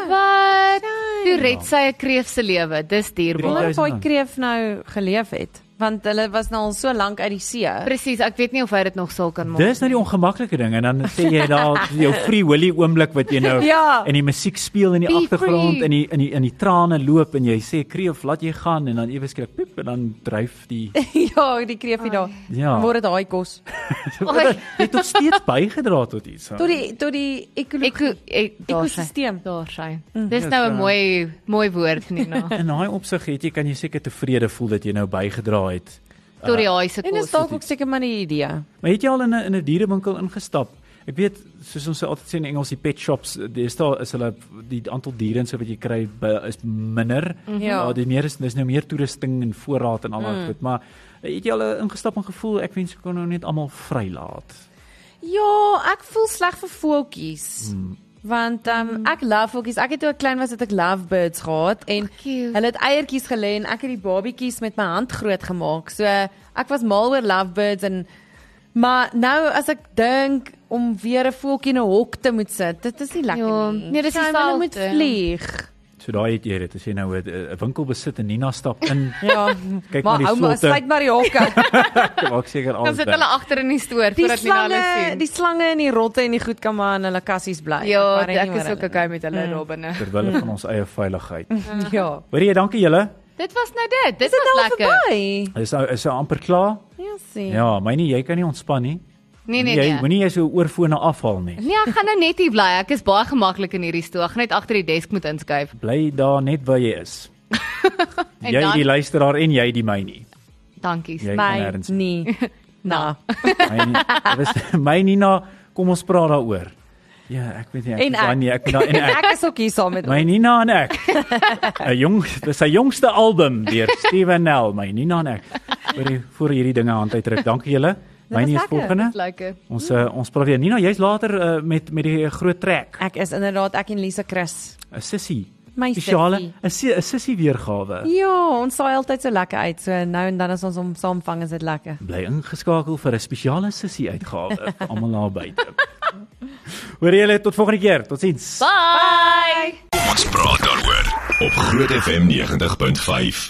[SPEAKER 3] Wat? Toe red sy 'n kreef se lewe. Dis dierbaar.
[SPEAKER 4] Wonder of hy
[SPEAKER 2] 1000
[SPEAKER 4] kreef nou geleef het, want hulle was nou al so lank uit die see.
[SPEAKER 3] Presies, ek weet nie of hy dit nog sal kan maak.
[SPEAKER 2] Dis nou die ongemaklike ding en dan sê jy daar jou free willy oomblik wat jy nou
[SPEAKER 4] Ja.
[SPEAKER 2] en die musiek speel in die
[SPEAKER 3] Be
[SPEAKER 2] agtergrond
[SPEAKER 3] free.
[SPEAKER 2] en die in die in die trane loop en jy sê kreef laat jy gaan en dan ewe skrik piep en dan dryf die
[SPEAKER 4] ja, die kreefie daar.
[SPEAKER 2] Ja.
[SPEAKER 4] Dan Word dit daai kos.
[SPEAKER 3] Oei.
[SPEAKER 2] dit tot steeds bygedra tot iets. hè?
[SPEAKER 4] Tot die tot die
[SPEAKER 3] Ek
[SPEAKER 4] ekologie.
[SPEAKER 3] ek daar sy.
[SPEAKER 4] Ekosisteem.
[SPEAKER 3] Daar sy. Dis
[SPEAKER 2] Dis,
[SPEAKER 3] nou
[SPEAKER 2] eh,
[SPEAKER 3] 'n mooi mooi woord nie nou.
[SPEAKER 2] In daai opsig het jy kan jy seker tevrede voel dat jy nou bygedra het.
[SPEAKER 3] Tot die haai se
[SPEAKER 4] En dis
[SPEAKER 3] kos.
[SPEAKER 4] dalk ook seker maar 'n idee.
[SPEAKER 2] Maar het jy al in 'n in 'n dierewinkel ingestap? Ek weet, soos ons altyd sê in Engels, die pet shops, dis daar is hulle die aantal diere en so wat jy kry by- is minder.
[SPEAKER 4] Ja.
[SPEAKER 2] Daar die meer is dis nou meer toerusting en voorraad en al
[SPEAKER 4] Mhm.
[SPEAKER 2] daai goed, maar het jy al eh, ingestap en gevoel ek wens ek kon nou net almal vrylaat.
[SPEAKER 4] Ja, ek voel sleg vir voeltjies.
[SPEAKER 2] Hmm.
[SPEAKER 4] Want um, ek love voeltjies. Ek het toe ek klein was het ek lovebirds gehad en
[SPEAKER 3] cute.
[SPEAKER 4] hulle het eiertjies gelê en ek het die babietjies met my hand groot gemaak. So ek was mal oor lovebirds en maar nou as ek dink om weer 'n voeltjie in 'n hok te moet sit, dit is nie lekker
[SPEAKER 3] Ja,
[SPEAKER 4] nie.
[SPEAKER 3] nee, dis
[SPEAKER 4] Sy, hulle moet
[SPEAKER 3] dieselfde.
[SPEAKER 4] vlieg.
[SPEAKER 2] So daai het jy dit as jy nou 'n- 'n 'n winkel besit en Nina stap in,
[SPEAKER 4] Ja.
[SPEAKER 2] Kyk
[SPEAKER 4] maar
[SPEAKER 2] maar die
[SPEAKER 4] hou maar
[SPEAKER 2] soorte.
[SPEAKER 4] sluit maar die hokke.
[SPEAKER 2] maak seker
[SPEAKER 3] Dan
[SPEAKER 2] alles
[SPEAKER 3] sit
[SPEAKER 2] weg.
[SPEAKER 3] hulle agter in die stoor
[SPEAKER 4] Die
[SPEAKER 3] voordat Nina hulle
[SPEAKER 4] slange,
[SPEAKER 3] sien.
[SPEAKER 4] die slange en die rotte en die goed kan maar in hulle kassies bly.
[SPEAKER 3] Ja,
[SPEAKER 4] Maar Hm. hy
[SPEAKER 3] ek
[SPEAKER 4] nie
[SPEAKER 3] is
[SPEAKER 4] oor
[SPEAKER 3] ook okay met hulle daar binne.
[SPEAKER 2] terwyl hulle van ons eie veiligheid.
[SPEAKER 4] hulle. Ja.
[SPEAKER 2] Hoor jy, dankie julle.
[SPEAKER 3] Dit was nou dit. Dit
[SPEAKER 4] Dit
[SPEAKER 3] was
[SPEAKER 4] is al
[SPEAKER 3] lekker.
[SPEAKER 4] verby.
[SPEAKER 2] Is nou is nou amper klaar?
[SPEAKER 4] Ja, sien.
[SPEAKER 2] Ja, myne jy kan nie ontspan nie.
[SPEAKER 3] Nee nee
[SPEAKER 2] jy
[SPEAKER 3] nee.
[SPEAKER 2] moenie jy so oorfone afhaal nie.
[SPEAKER 3] Nee, ek gaan nou net hier bly. Ek is baie gemaklik in hierdie stoel. Ek gaan net agter die desk moet inskuif.
[SPEAKER 2] Bly daar net waar jy is.
[SPEAKER 3] En
[SPEAKER 2] jy
[SPEAKER 3] dan-
[SPEAKER 2] die luisteraar en jy die my nie.
[SPEAKER 3] Dankie.
[SPEAKER 2] Jy kan
[SPEAKER 4] My
[SPEAKER 2] nêrens
[SPEAKER 4] nie. Na.
[SPEAKER 2] My nie. Dit is my Nina, kom ons praat daaroor. Ja, ek weet nie ek
[SPEAKER 4] En
[SPEAKER 2] moet daai
[SPEAKER 4] ek.
[SPEAKER 2] nie, ek moet daai en ek.
[SPEAKER 4] Ek is ook hier saam met
[SPEAKER 2] My Nina en ek. 'n Jong, dis sy jongste album deur Steven Nell, my Nina en ek. Vir die vir hierdie dinge hand uitdruk. Dankie julle. My
[SPEAKER 4] was
[SPEAKER 2] nie is
[SPEAKER 4] lekker,
[SPEAKER 2] volgende.
[SPEAKER 3] Lekker.
[SPEAKER 2] Ons uh, ons praat weer. Nina, jy's later uh, met met die groot trek.
[SPEAKER 4] Ek is inderdaad ek en Lisa Chris.
[SPEAKER 2] 'n Sissie.
[SPEAKER 4] My
[SPEAKER 2] spesiale
[SPEAKER 4] sissie.
[SPEAKER 2] 'n si- 'n sissie weergawe.
[SPEAKER 4] Ja, ons saai altyd so lekker uit. So nou en dan as ons hom saamvang is dit lekker.
[SPEAKER 2] Bly ingeskakel vir 'n spesiale sissie uitgawe vir almal daar buite. Hoor julle tot volgende keer. Totsiens.
[SPEAKER 3] Bye. Bye.
[SPEAKER 1] Kom ons praat daaroor op Groot FM 90.5.